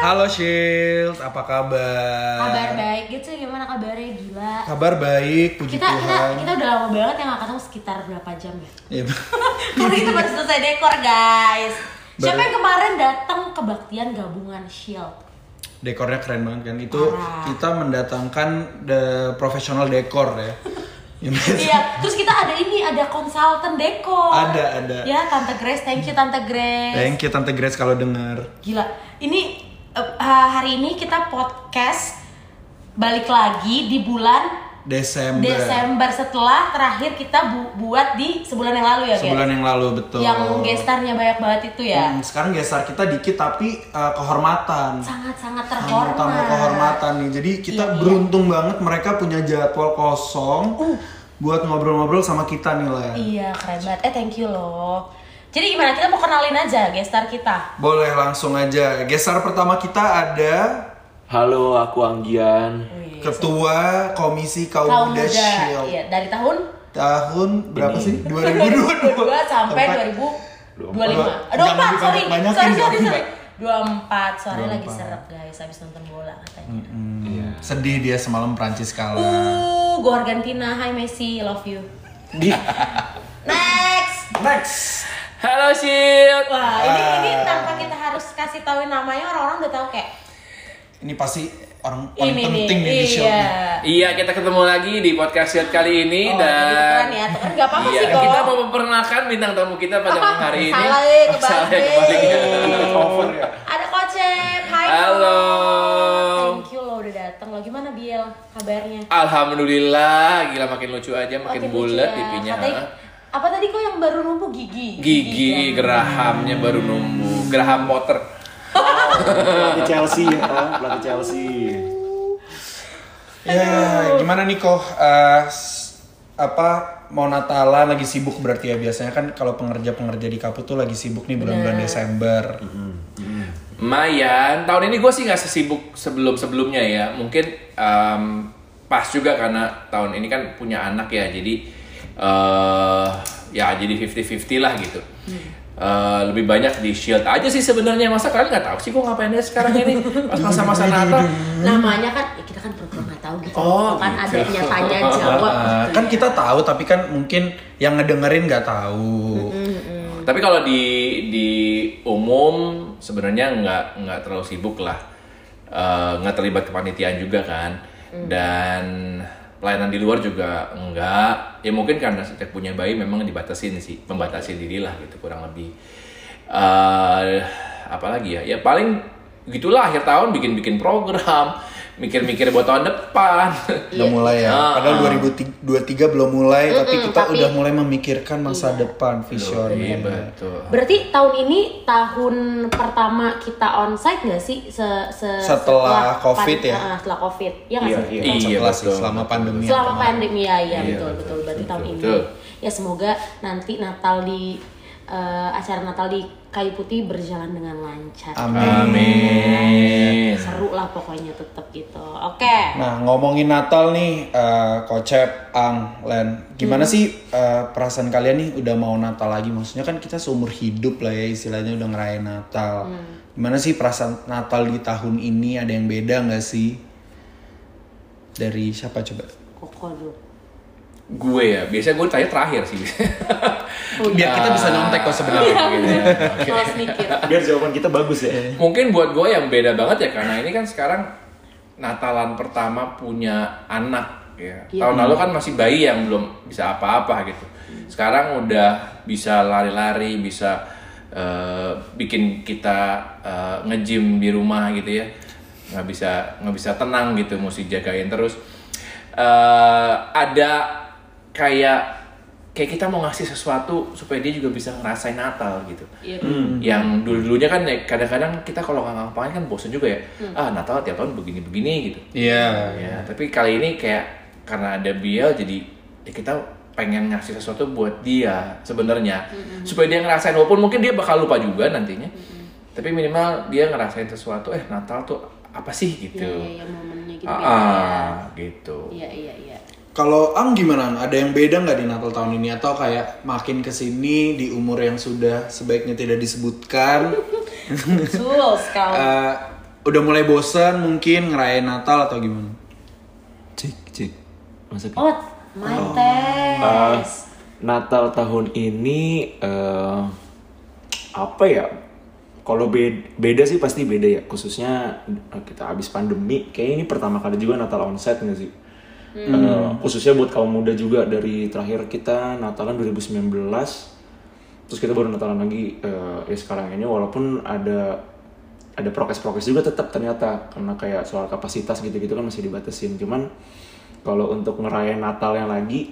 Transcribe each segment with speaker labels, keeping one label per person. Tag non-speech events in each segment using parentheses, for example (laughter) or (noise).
Speaker 1: Halo Shield, apa kabar?
Speaker 2: Kabar baik gitu gimana kabarnya gila.
Speaker 1: Kabar baik, puji
Speaker 2: Kita kita
Speaker 1: Tuhan.
Speaker 2: kita udah lama banget ya nggak ketemu sekitar berapa jam
Speaker 1: (laughs)
Speaker 2: ya?
Speaker 1: Iya.
Speaker 2: Karena kita baru selesai dekor guys. Siapa
Speaker 1: Baru-
Speaker 2: yang kemarin datang kebaktian gabungan Shield?
Speaker 1: Dekornya keren banget kan. Itu
Speaker 2: Parah.
Speaker 1: kita mendatangkan the profesional dekor ya. Yang biasa-
Speaker 2: Iya, terus kita ada ini ada konsultan dekor.
Speaker 1: Ada, ada.
Speaker 2: Ya, Tante Grace, thank you Tante Grace.
Speaker 1: Thank you Tante Grace kalau denger.
Speaker 2: Gila, ini eh, hari ini kita podcast balik lagi di bulan
Speaker 1: Desember.
Speaker 2: Desember setelah terakhir kita bu- buat di sebulan yang lalu ya, guys.
Speaker 1: Sebulan yang lalu betul.
Speaker 2: yang gestarnya banyak banget itu ya
Speaker 1: Hmm, sekarang gestar kita dikit tapi uh, kehormatan.
Speaker 2: sangat-sangat
Speaker 1: Tamu
Speaker 2: terhormat
Speaker 1: tamu kehormatan nih. Jadi
Speaker 2: Iya,
Speaker 1: kita
Speaker 2: Uh. iya.
Speaker 1: beruntung banget mereka punya jadwal kosong buat ngobrol-ngobrol sama kita nih lah.
Speaker 2: iya keren banget eh thank you loh jadi gimana kita mau kenalin aja gestar kita
Speaker 1: Boleh langsung aja. Geser pertama kita ada
Speaker 3: Halo, aku Anggian.
Speaker 2: Wih,
Speaker 1: Ketua Komisi Kaum,
Speaker 2: Iya, kaum
Speaker 1: Muda,
Speaker 2: muda
Speaker 1: Shield.
Speaker 2: iya dari tahun
Speaker 1: Tahun berapa
Speaker 3: Ini. (laughs)
Speaker 1: sih? 2022.
Speaker 2: 2022 sampai
Speaker 1: Tempat-
Speaker 2: 2025
Speaker 1: Jangan
Speaker 2: aduh empat Eh, sorry
Speaker 1: dibanyak-banyakin
Speaker 2: sorry
Speaker 1: dong.
Speaker 2: sorry
Speaker 1: (laughs)
Speaker 2: sorry 24 sore lagi
Speaker 1: 24.
Speaker 2: seret guys habis nonton bola katanya
Speaker 1: Hmm,
Speaker 3: Iya.
Speaker 1: Sedih dia semalam Prancis kalah.
Speaker 2: uh gue Argentina hi Messi love you next
Speaker 1: Next.
Speaker 3: Halo, Shield.
Speaker 2: Wah, ini ini
Speaker 1: Ah.
Speaker 2: tanpa kita harus kasih tahuin namanya orang-orang udah tahu kayak
Speaker 1: Ini pasti orang orang
Speaker 2: ini
Speaker 1: penting nih di show.
Speaker 2: Iya.
Speaker 3: Iya, kita ketemu lagi di podcast Shield kali ini
Speaker 2: Oh, jadi
Speaker 3: dan
Speaker 2: keren ya. Tuh, Gak apa-apa
Speaker 3: Iya,
Speaker 2: sih kok.
Speaker 3: kita mau memperkenalkan bintang tamu kita pada malam hari ini.
Speaker 2: Salah, eh,
Speaker 3: Oh, salah,
Speaker 2: kebalik.
Speaker 3: kebalik. Over ya.
Speaker 2: Ada kocep. Hai.
Speaker 3: Halo.
Speaker 2: Thank you lo udah dateng lo. Gimana Biel kabarnya?
Speaker 3: Alhamdulillah, gila makin lucu aja, makin
Speaker 2: lucu
Speaker 3: bulat
Speaker 2: ya.
Speaker 3: pipinya.
Speaker 2: Katanya- apa tadi kok yang baru numpu gigi?
Speaker 3: Gigi
Speaker 2: kan?
Speaker 3: Grahamnya baru numbuh, Graham Potter.
Speaker 4: pelatih Chelsea ya, pelatih Chelsea.
Speaker 1: Ya, gimana nih kok eh, s- apa mau Natalan lagi sibuk berarti ya biasanya kan kalau pengerja-pengerja di Kapu tuh lagi sibuk nih bulan-bulan Desember.
Speaker 3: Mayan, tahun ini gue sih nggak sesibuk sebelum-sebelumnya ya. Mungkin em, pas juga karena tahun ini kan punya anak ya, jadi eh ya jadi 50-50 lah gitu. Eh, lebih banyak di shield aja sih sebenarnya masa kalian nggak tahu sih gue ngapain aja sekarang ini pas masa-masa Natal.
Speaker 2: Namanya kan ya kita kan pura-pura nggak tahu gitu.
Speaker 3: Oh,
Speaker 2: kan
Speaker 3: gitu.
Speaker 2: ada yang
Speaker 3: (laughs)
Speaker 2: tanya jawab.
Speaker 1: Ah,
Speaker 2: gitu
Speaker 1: kan
Speaker 2: ya.
Speaker 1: kita tahu tapi kan mungkin yang ngedengerin nggak tahu.
Speaker 3: Tapi kalau di di umum sebenarnya nggak nggak terlalu sibuk lah, Eh, nggak terlibat kepanitiaan juga kan, dan pelayanan di luar juga enggak. Ya mungkin karena sejak punya bayi memang dibatasin sih, membatasi diri lah gitu kurang lebih. Eh apalagi ya, ya paling gitulah akhir tahun bikin-bikin program, mikir-mikir buat tahun depan.
Speaker 1: Udah
Speaker 2: Iya.
Speaker 1: mulai ya.
Speaker 3: Ah,
Speaker 1: Padahal
Speaker 3: ah.
Speaker 1: 2023 belum mulai, tapi kita
Speaker 2: tapi- Iya.
Speaker 1: udah mulai memikirkan masa depan visioner.
Speaker 3: Iya betul.
Speaker 2: Berarti tahun ini tahun pertama kita onsite nggak sih se- se-
Speaker 1: Setelah COVID ya?
Speaker 2: Ah, setelah covid ya nggak
Speaker 4: Iya,
Speaker 2: sih?
Speaker 4: iya.
Speaker 1: Setelah
Speaker 3: Iya, betul.
Speaker 1: selama pandemi. yang
Speaker 2: Selama
Speaker 1: kemarin.
Speaker 2: pandemi ya, iya,
Speaker 3: Iya,
Speaker 2: betul, betul
Speaker 3: betul,
Speaker 2: Berarti
Speaker 3: betul,
Speaker 2: tahun ini
Speaker 3: betul.
Speaker 2: ya semoga nanti Natal di eh, acara Natal di Kayu Putih berjalan dengan lancar.
Speaker 3: Amin.
Speaker 2: Seru lah pokoknya tetap gitu. Oke.
Speaker 1: Nah, ngomongin Natal nih, eh, Kocep, Ang, Len. Gimana sih eh, perasaan kalian nih udah mau Natal lagi? Maksudnya kan kita seumur hidup lah ya istilahnya udah ngerayain Natal.
Speaker 2: Mm.
Speaker 1: Gimana sih perasaan Natal di tahun ini? Ada yang beda nggak sih? Dari siapa coba?
Speaker 2: Koko dulu.
Speaker 3: Gue ya, biasanya gue tanya terakhir sih. (laughs)
Speaker 1: Biar kita bisa nyontek kok sebenarnya.
Speaker 3: Ah, gitu
Speaker 2: (laughs)
Speaker 3: ya. Oke.
Speaker 2: Kalau sedikit.
Speaker 4: Biar jawaban kita bagus ya.
Speaker 3: Mungkin buat gue yang beda banget ya karena ini kan sekarang Natalan pertama punya anak ya.
Speaker 2: Iya.
Speaker 3: Tahun lalu kan masih bayi yang belum bisa apa-apa gitu. Sekarang udah bisa lari-lari, bisa eh, bikin kita eh, nge-gym di rumah gitu ya. nggak bisa nggak bisa tenang gitu, mesti jagain terus. Eh, ada kayak kayak kita mau ngasih sesuatu supaya dia juga bisa ngerasain Natal gitu
Speaker 2: Iya.
Speaker 3: yang dulu dulunya kan ya kadang-kadang kita kalau nggak ngapain kan bosen juga ya
Speaker 2: Hmm.
Speaker 3: ah Natal tiap tahun begini begini gitu
Speaker 1: Iya.
Speaker 3: ya tapi kali ini kayak karena ada Biel jadi ya kita pengen ngasih sesuatu buat dia sebenarnya
Speaker 2: Hmm.
Speaker 3: supaya dia ngerasain walaupun mungkin dia bakal lupa juga nantinya tapi minimal dia ngerasain sesuatu eh Natal tuh apa sih gitu
Speaker 2: Iya, iya, iya, momennya gitu.
Speaker 3: ah,
Speaker 2: beda ya.
Speaker 3: ah, gitu
Speaker 2: Iya, iya, iya.
Speaker 1: Kalau Ang gimana? Ang? Ada yang beda nggak di Natal tahun ini atau kayak makin kesini di
Speaker 2: (laughs)
Speaker 1: umur yang sudah sebaiknya tidak disebutkan
Speaker 2: Betul sekali.
Speaker 1: eh, udah mulai bosan mungkin ngerayain Natal atau gimana?
Speaker 5: Cik, cik. Masuk.
Speaker 2: Oh, my test.
Speaker 5: Natal tahun ini eh, apa ya? Kalau bed- beda sih pasti beda ya. Khususnya eh, kita habis pandemi, kayaknya ini pertama kali juga Natal onset nggak sih? Eh, khususnya buat kaum muda juga dari terakhir kita Natalan 2019 terus kita baru Natalan lagi eh, ya sekarang ini walaupun ada ada prokes-prokes juga tetap ternyata karena kayak soal kapasitas gitu-gitu kan masih dibatasin cuman kalau untuk ngerayain Natalnya lagi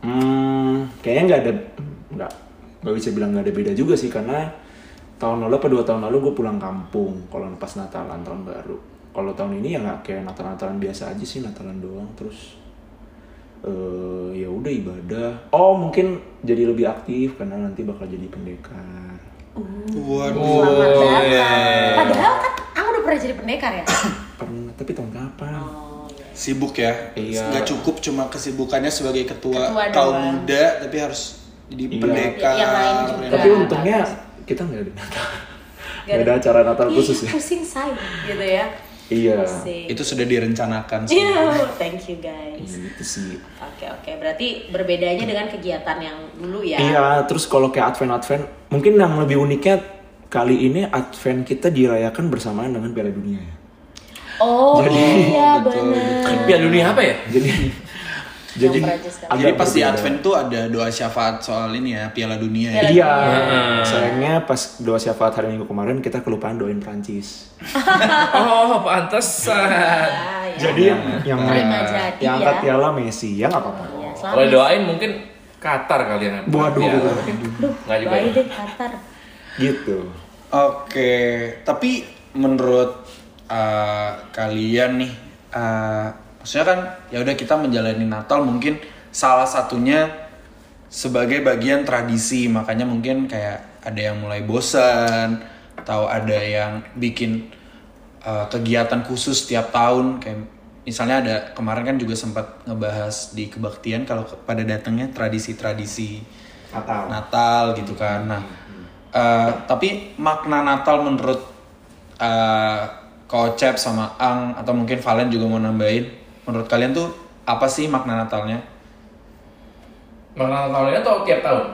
Speaker 5: Hmm, kayaknya nggak ada, nggak, nggak bisa bilang nggak ada beda juga sih karena tahun lalu apa dua tahun lalu gue pulang kampung kalau pas Natalan tahun baru. Kalau tahun ini ya nggak kayak Natal-Natalan biasa aja sih Natalan doang terus eh ya udah ibadah. Oh mungkin jadi lebih aktif karena nanti bakal jadi pendekar.
Speaker 3: Ah.
Speaker 2: Selamat
Speaker 1: Waduh.
Speaker 3: Oh,
Speaker 2: datang.
Speaker 3: iya.
Speaker 2: Padahal kan aku udah pernah jadi pendekar ya.
Speaker 5: Pernah tapi tahun kapan?
Speaker 1: Sibuk ya?
Speaker 5: Iya.
Speaker 1: Nggak cukup cuma kesibukannya sebagai ketua,
Speaker 2: Ketua
Speaker 1: kaum
Speaker 2: doang.
Speaker 1: muda, tapi harus jadi
Speaker 5: Iya.
Speaker 1: pendekar. ya kan?
Speaker 2: Yang lain juga.
Speaker 5: Tapi
Speaker 2: Nggak,
Speaker 5: untungnya kita nggak ada Natal. Nggak ada acara Natal
Speaker 2: Ih,
Speaker 5: khusus ya.
Speaker 2: Pusing saya gitu ya.
Speaker 5: Iya.
Speaker 2: Pusing.
Speaker 1: Itu sudah direncanakan. semua.
Speaker 2: Iya, thank you guys.
Speaker 5: Gitu sih.
Speaker 2: Oke oke, berarti berbedanya dengan kegiatan yang dulu ya.
Speaker 5: Iya, terus kalau kayak Advent Advent, mungkin yang lebih uniknya kali ini Advent kita dirayakan bersamaan dengan Piala Dunia ya.
Speaker 2: Oh iya
Speaker 1: betul,
Speaker 2: benar.
Speaker 3: Piala dunia
Speaker 2: (laughs)
Speaker 3: apa ya?
Speaker 5: Jadi jadi
Speaker 2: Prancis kan.
Speaker 5: agak
Speaker 1: Jadi pas di
Speaker 5: berbeda.
Speaker 1: Advent tuh ada doa syafaat soal ini ya, Piala Dunia ya.
Speaker 2: Piala
Speaker 5: Iya.
Speaker 2: Dunia.
Speaker 5: Sayangnya pas doa syafaat hari Minggu kemarin kita kelupaan doain Prancis.
Speaker 3: Oh, pantesan.
Speaker 2: Ah, ya.
Speaker 5: Jadi yang yang,
Speaker 2: Terima jadi
Speaker 5: yang angkat
Speaker 2: ya.
Speaker 5: piala Messi ya nggak apa-apa.
Speaker 2: Ya,
Speaker 3: Kalau
Speaker 2: selamat.
Speaker 3: doain mungkin Qatar kalian.
Speaker 5: Waduh.
Speaker 3: Ya,
Speaker 2: Duh,
Speaker 3: Nggak juga
Speaker 2: bayi
Speaker 3: ya.
Speaker 2: deh Qatar.
Speaker 5: Gitu.
Speaker 1: Oke, tapi menurut uh, kalian nih, uh, maksudnya kan ya udah kita menjalani Natal mungkin salah satunya sebagai bagian tradisi, makanya mungkin kayak ada yang mulai bosan atau ada yang bikin uh, kegiatan khusus tiap tahun kayak misalnya ada kemarin kan juga sempat ngebahas di kebaktian kalau ke- pada datangnya tradisi-tradisi
Speaker 5: Natal.
Speaker 1: Natal gitu kan. Nah, eh, tapi makna Natal menurut eh Kocep sama Ang atau mungkin Valen juga mau nambahin, menurut kalian tuh apa sih makna Natalnya?
Speaker 3: Malah tahun ini atau tiap tahun?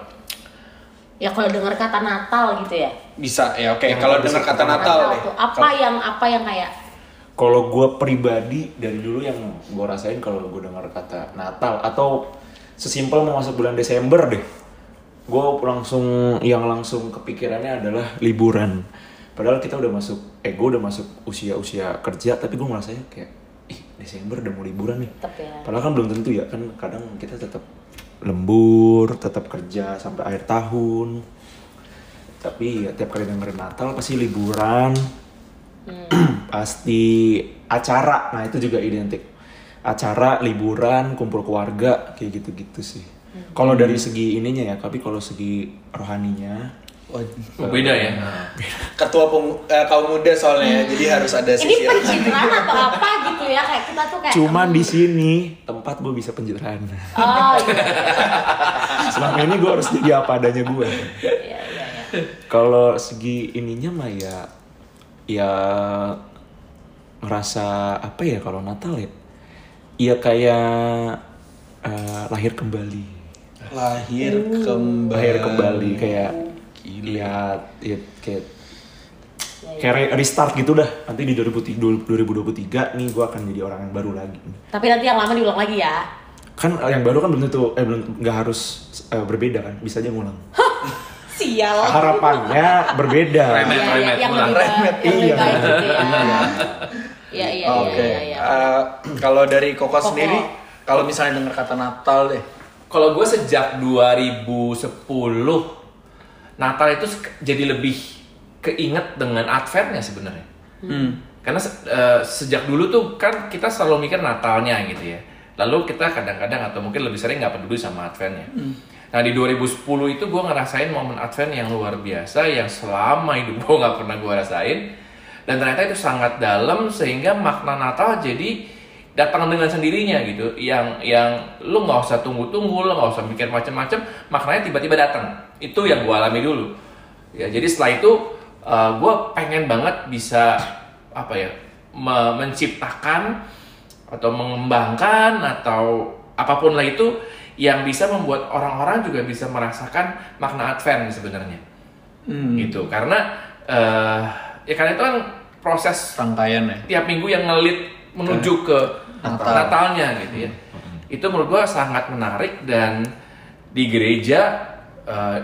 Speaker 2: Ya kalau dengar kata Natal gitu ya.
Speaker 1: Bisa ya, oke. Kalau dengar kata Natal, deh.
Speaker 2: tuh apa yang apa yang kayak
Speaker 5: Kalau gue pribadi dari dulu yang gue rasain kalau gue dengar kata Natal atau sesimpel mau masuk bulan Desember deh, gue langsung yang langsung kepikirannya adalah liburan. Padahal kita udah masuk, eh gue udah masuk usia-usia kerja, tapi gue ngerasanya kayak, ih Desember udah mau liburan nih.
Speaker 2: Tetep ya.
Speaker 5: Padahal kan belum tentu ya, kan kadang kita tetap lembur, tetap kerja sampai akhir tahun. Tapi ya tiap kali dengerin Natal pasti liburan, (clears throat) pasti acara. Nah itu juga identik. Acara, liburan, kumpul keluarga, kayak gitu-gitu sih. Kalau dari segi ininya ya, tapi kalau segi rohaninya,
Speaker 1: Waduh.
Speaker 3: Oh, beda ya.
Speaker 1: ketua pemu- eh, kaum muda soalnya, jadi harus ada
Speaker 2: ini
Speaker 1: sisi.
Speaker 2: pencitraan atau apa gitu ya kayak kita tuh kayak
Speaker 5: cuman di sini tempat gue bisa pencitraan. (laughs)
Speaker 2: Oh iya.
Speaker 5: Selama ini gue harus jadi apa adanya gue.
Speaker 2: Iya iya iya.
Speaker 5: Kalau segi ininya mah ya ya ngerasa apa ya kalau Natal ya? Ya kayak eh, lahir kembali.
Speaker 1: lahir kembali.
Speaker 5: Lahir
Speaker 2: Iya,
Speaker 5: kembali kayak
Speaker 1: Gila.
Speaker 5: ya, ya kayak
Speaker 2: ya.
Speaker 5: kayak re- restart gitu dah. Nanti di 2023 2023 nih gue akan jadi orang yang baru lagi.
Speaker 2: Tapi nanti yang lama diulang lagi ya.
Speaker 5: Kan eh, yang baru kan belum tentu eh belum nggak harus eh, berbeda kan, bisa aja ngulang.
Speaker 2: Sial.
Speaker 5: Harapannya berbeda.
Speaker 3: Remet,
Speaker 2: Iya, iya,
Speaker 3: remet,
Speaker 2: yang
Speaker 3: ulang.
Speaker 2: lebih baik, yang lebih
Speaker 5: Iya.
Speaker 2: baik gitu ya. Iya iya
Speaker 1: Oke.
Speaker 2: iya iya. iya.
Speaker 1: Eh, kalau dari Koko,
Speaker 2: Koko.
Speaker 1: sendiri, kalau misalnya dengar kata Natal deh,
Speaker 3: Kalau gue sejak 2010 Natal itu sek- jadi lebih keinget dengan Adventnya sebenarnya.
Speaker 2: Hmm.
Speaker 1: Hmm,
Speaker 3: Karena se- eh, sejak dulu tuh kan kita selalu mikir Natalnya gitu ya. Lalu kita kadang-kadang atau mungkin lebih sering nggak peduli sama Adventnya. Nah di 2010 itu gue ngerasain momen Advent yang luar biasa yang selama hidup gue nggak pernah gue rasain. Dan ternyata itu sangat dalam sehingga makna Natal jadi datang dengan sendirinya gitu yang yang lu nggak usah tunggu-tunggu lu nggak usah mikir macam-macam maknanya tiba-tiba datang itu yang gua alami dulu ya jadi setelah itu eh, gua pengen banget bisa apa ya me- menciptakan atau mengembangkan atau apapun lah itu yang bisa membuat orang-orang juga bisa merasakan makna Advent sebenarnya gitu karena eh ya karena itu kan proses
Speaker 1: rangkaian ya
Speaker 3: tiap minggu yang ngelit menuju ke Natalnya gitu ya. Itu menurut gua sangat menarik dan di gereja eh,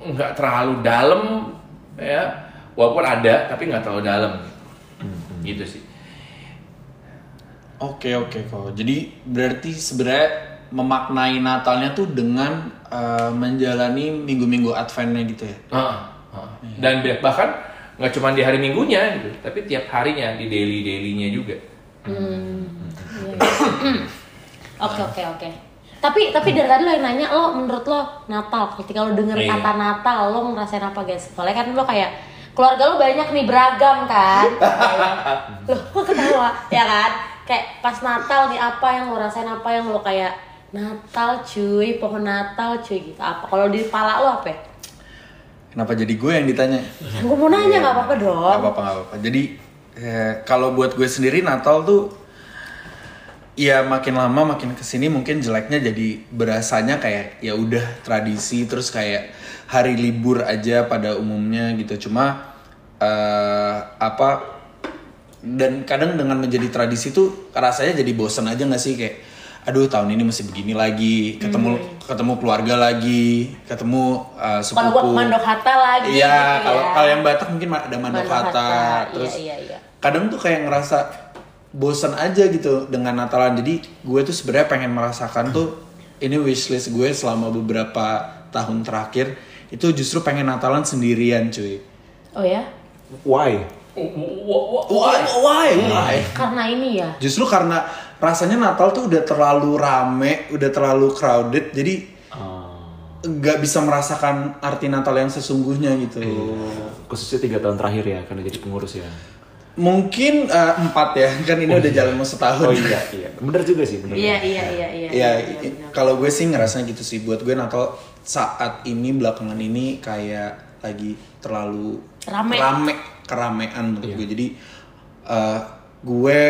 Speaker 3: nggak terlalu dalam ya, walaupun ada tapi nggak terlalu dalam. Gitu sih.
Speaker 1: oke oke kok jadi berarti sebenarnya memaknai Natalnya tuh dengan eh, menjalani minggu-minggu Adventnya gitu ya
Speaker 3: Heeh, heeh. Dan bahkan nggak cuma di hari minggunya gitu, tapi tiap harinya di daily dailynya juga.
Speaker 2: Oke oke oke. Tapi tapi dari tadi lo yang nanya lo menurut lo Natal ketika lo denger
Speaker 3: Iya.
Speaker 2: kata Natal lo ngerasain apa guys? Soalnya kan lo kayak keluarga lo banyak nih beragam kan. lo kok ketawa ya kan? Kayak pas Natal nih apa yang lo rasain apa yang lo kayak Natal cuy pohon Natal cuy gitu apa? Kalau di kepala lo apa? ya?
Speaker 1: kenapa jadi gue yang ditanya
Speaker 2: Gue mau nanya nggak apa-apa dong.
Speaker 1: Gak apa-apa, gak apa-apa. Jadi eh, kalau buat gue sendiri Natal tuh ya makin lama makin kesini mungkin jeleknya jadi berasanya kayak ya udah tradisi terus kayak hari libur aja pada umumnya gitu. Cuma eh, apa dan kadang dengan menjadi tradisi tuh rasanya jadi bosen aja nggak sih kayak aduh tahun ini mesti begini lagi ketemu ketemu keluarga lagi ketemu eh,
Speaker 2: Kalau
Speaker 1: sepupu
Speaker 2: gue mandok hata lagi.
Speaker 1: Iya,
Speaker 2: gitu
Speaker 1: kalau
Speaker 2: ya.
Speaker 1: kalau yang Batak mungkin ada
Speaker 2: Mandok
Speaker 1: Mandokata,
Speaker 2: Hatta,
Speaker 1: terus
Speaker 2: iya, iya, iya.
Speaker 1: kadang tuh kayak ngerasa bosen aja gitu dengan Natalan. Jadi gue tuh sebenarnya pengen merasakan tuh ini wishlist gue selama beberapa tahun terakhir itu justru pengen Natalan sendirian cuy.
Speaker 2: Oh ya?
Speaker 5: Why?
Speaker 1: Why? Why? Why?
Speaker 2: Karena ini ya.
Speaker 1: Justru karena rasanya Natal tuh udah terlalu rame, udah terlalu crowded, jadi
Speaker 5: Oh.
Speaker 1: nggak bisa merasakan arti Natal yang sesungguhnya gitu.
Speaker 5: Khususnya tiga tahun terakhir ya, karena jadi pengurus ya.
Speaker 1: Mungkin eh, empat ya, kan ini udah jalan mau setahun.
Speaker 5: Oh iya, iya. Bener juga sih, bener.
Speaker 2: Iya iya iya iya.
Speaker 1: Ya,
Speaker 2: iya,
Speaker 1: i-
Speaker 2: benar.
Speaker 1: kalau gue sih ngerasanya gitu sih. Buat gue Natal saat ini belakangan ini kayak lagi terlalu
Speaker 2: Rame.
Speaker 1: keramean
Speaker 5: Iya.
Speaker 1: menurut gue. Jadi eh, gue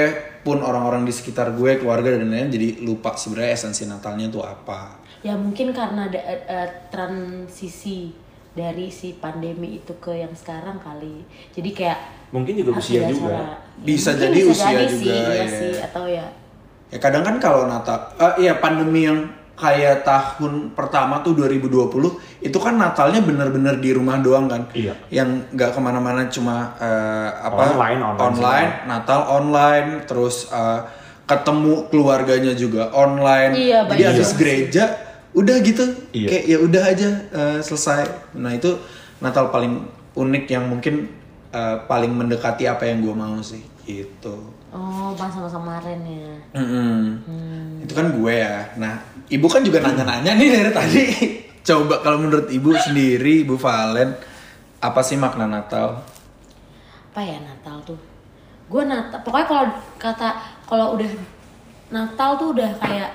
Speaker 1: pun orang-orang di sekitar gue, keluarga dan lain-lain jadi lupa sebenarnya esensi Natalnya tuh apa.
Speaker 2: Ya mungkin karena ada eh, eh, transisi dari si pandemi itu ke yang sekarang kali. Jadi kayak
Speaker 5: Mungkin juga
Speaker 2: harus
Speaker 5: usia
Speaker 2: ada
Speaker 5: juga.
Speaker 2: acara.
Speaker 1: Bisa
Speaker 2: Mungkin
Speaker 1: jadi usia
Speaker 2: sih,
Speaker 1: juga,
Speaker 2: iya
Speaker 1: ya.
Speaker 2: sih, atau ya.
Speaker 1: Ya kadang kan kalau Natal, eh, ya pandemi yang kayak tahun pertama tuh 2020 itu kan Natalnya bener-bener di rumah doang kan,
Speaker 5: Iya.
Speaker 1: yang nggak kemana-mana cuma eh, apa
Speaker 5: Online, online
Speaker 1: online, Natal online, terus eh, ketemu keluarganya juga online,
Speaker 2: Iya,
Speaker 1: jadi
Speaker 2: banyak
Speaker 1: habis
Speaker 2: banget.
Speaker 1: gereja udah gitu,
Speaker 5: Iya.
Speaker 1: kayak ya udah aja eh, selesai. Nah itu Natal paling unik yang mungkin eh, paling mendekati apa yang gue mau sih, gitu.
Speaker 2: Oh, pas sama kemarin ya.
Speaker 1: Mm-mm. Itu kan gue ya. Nah, ibu kan juga nanya-nanya nih dari tadi. (laughs) Coba kalau menurut ibu sendiri, ibu Valen, apa sih makna Natal?
Speaker 2: apa ya Natal tuh gue Natal pokoknya kalau kata kalau udah Natal tuh udah kayak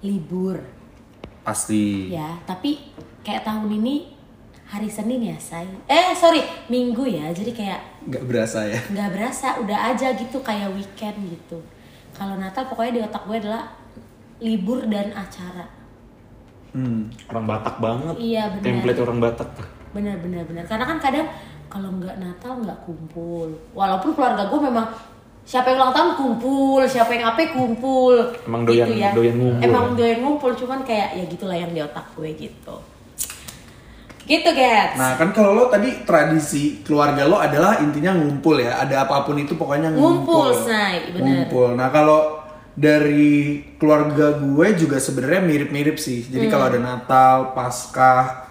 Speaker 2: libur
Speaker 1: Pasti.
Speaker 2: ya tapi kayak tahun ini hari Senin ya say eh sorry Minggu ya jadi kayak
Speaker 1: Gak berasa ya.
Speaker 2: nggak berasa udah aja gitu kayak weekend gitu kalau Natal pokoknya di otak gue adalah libur dan acara
Speaker 1: Hmm.
Speaker 5: Orang Batak banget.
Speaker 2: Iya, bener.
Speaker 5: Template orang Batak.
Speaker 2: benar benar benar karena kan kadang kalau nggak Natal nggak kumpul walaupun keluarga gue memang siapa yang ulang tahun kumpul siapa yang apa kumpul Gitu
Speaker 5: Emang doyan- doyan ngumpul
Speaker 2: emang
Speaker 5: ya?
Speaker 2: doyan ngumpul cuman kayak ya gitulah yang di otak gue gitu gitu guys
Speaker 1: Nah, kan kalau lo tadi tradisi keluarga lo adalah intinya ngumpul ya. Ada apapun itu pokoknya ngumpul.
Speaker 2: Ngumpul, Shay, bener.
Speaker 1: Ngumpul. Nah, kalau dari keluarga gue juga sebenarnya mirip-mirip sih. Jadi kalau ada Natal, Paskah,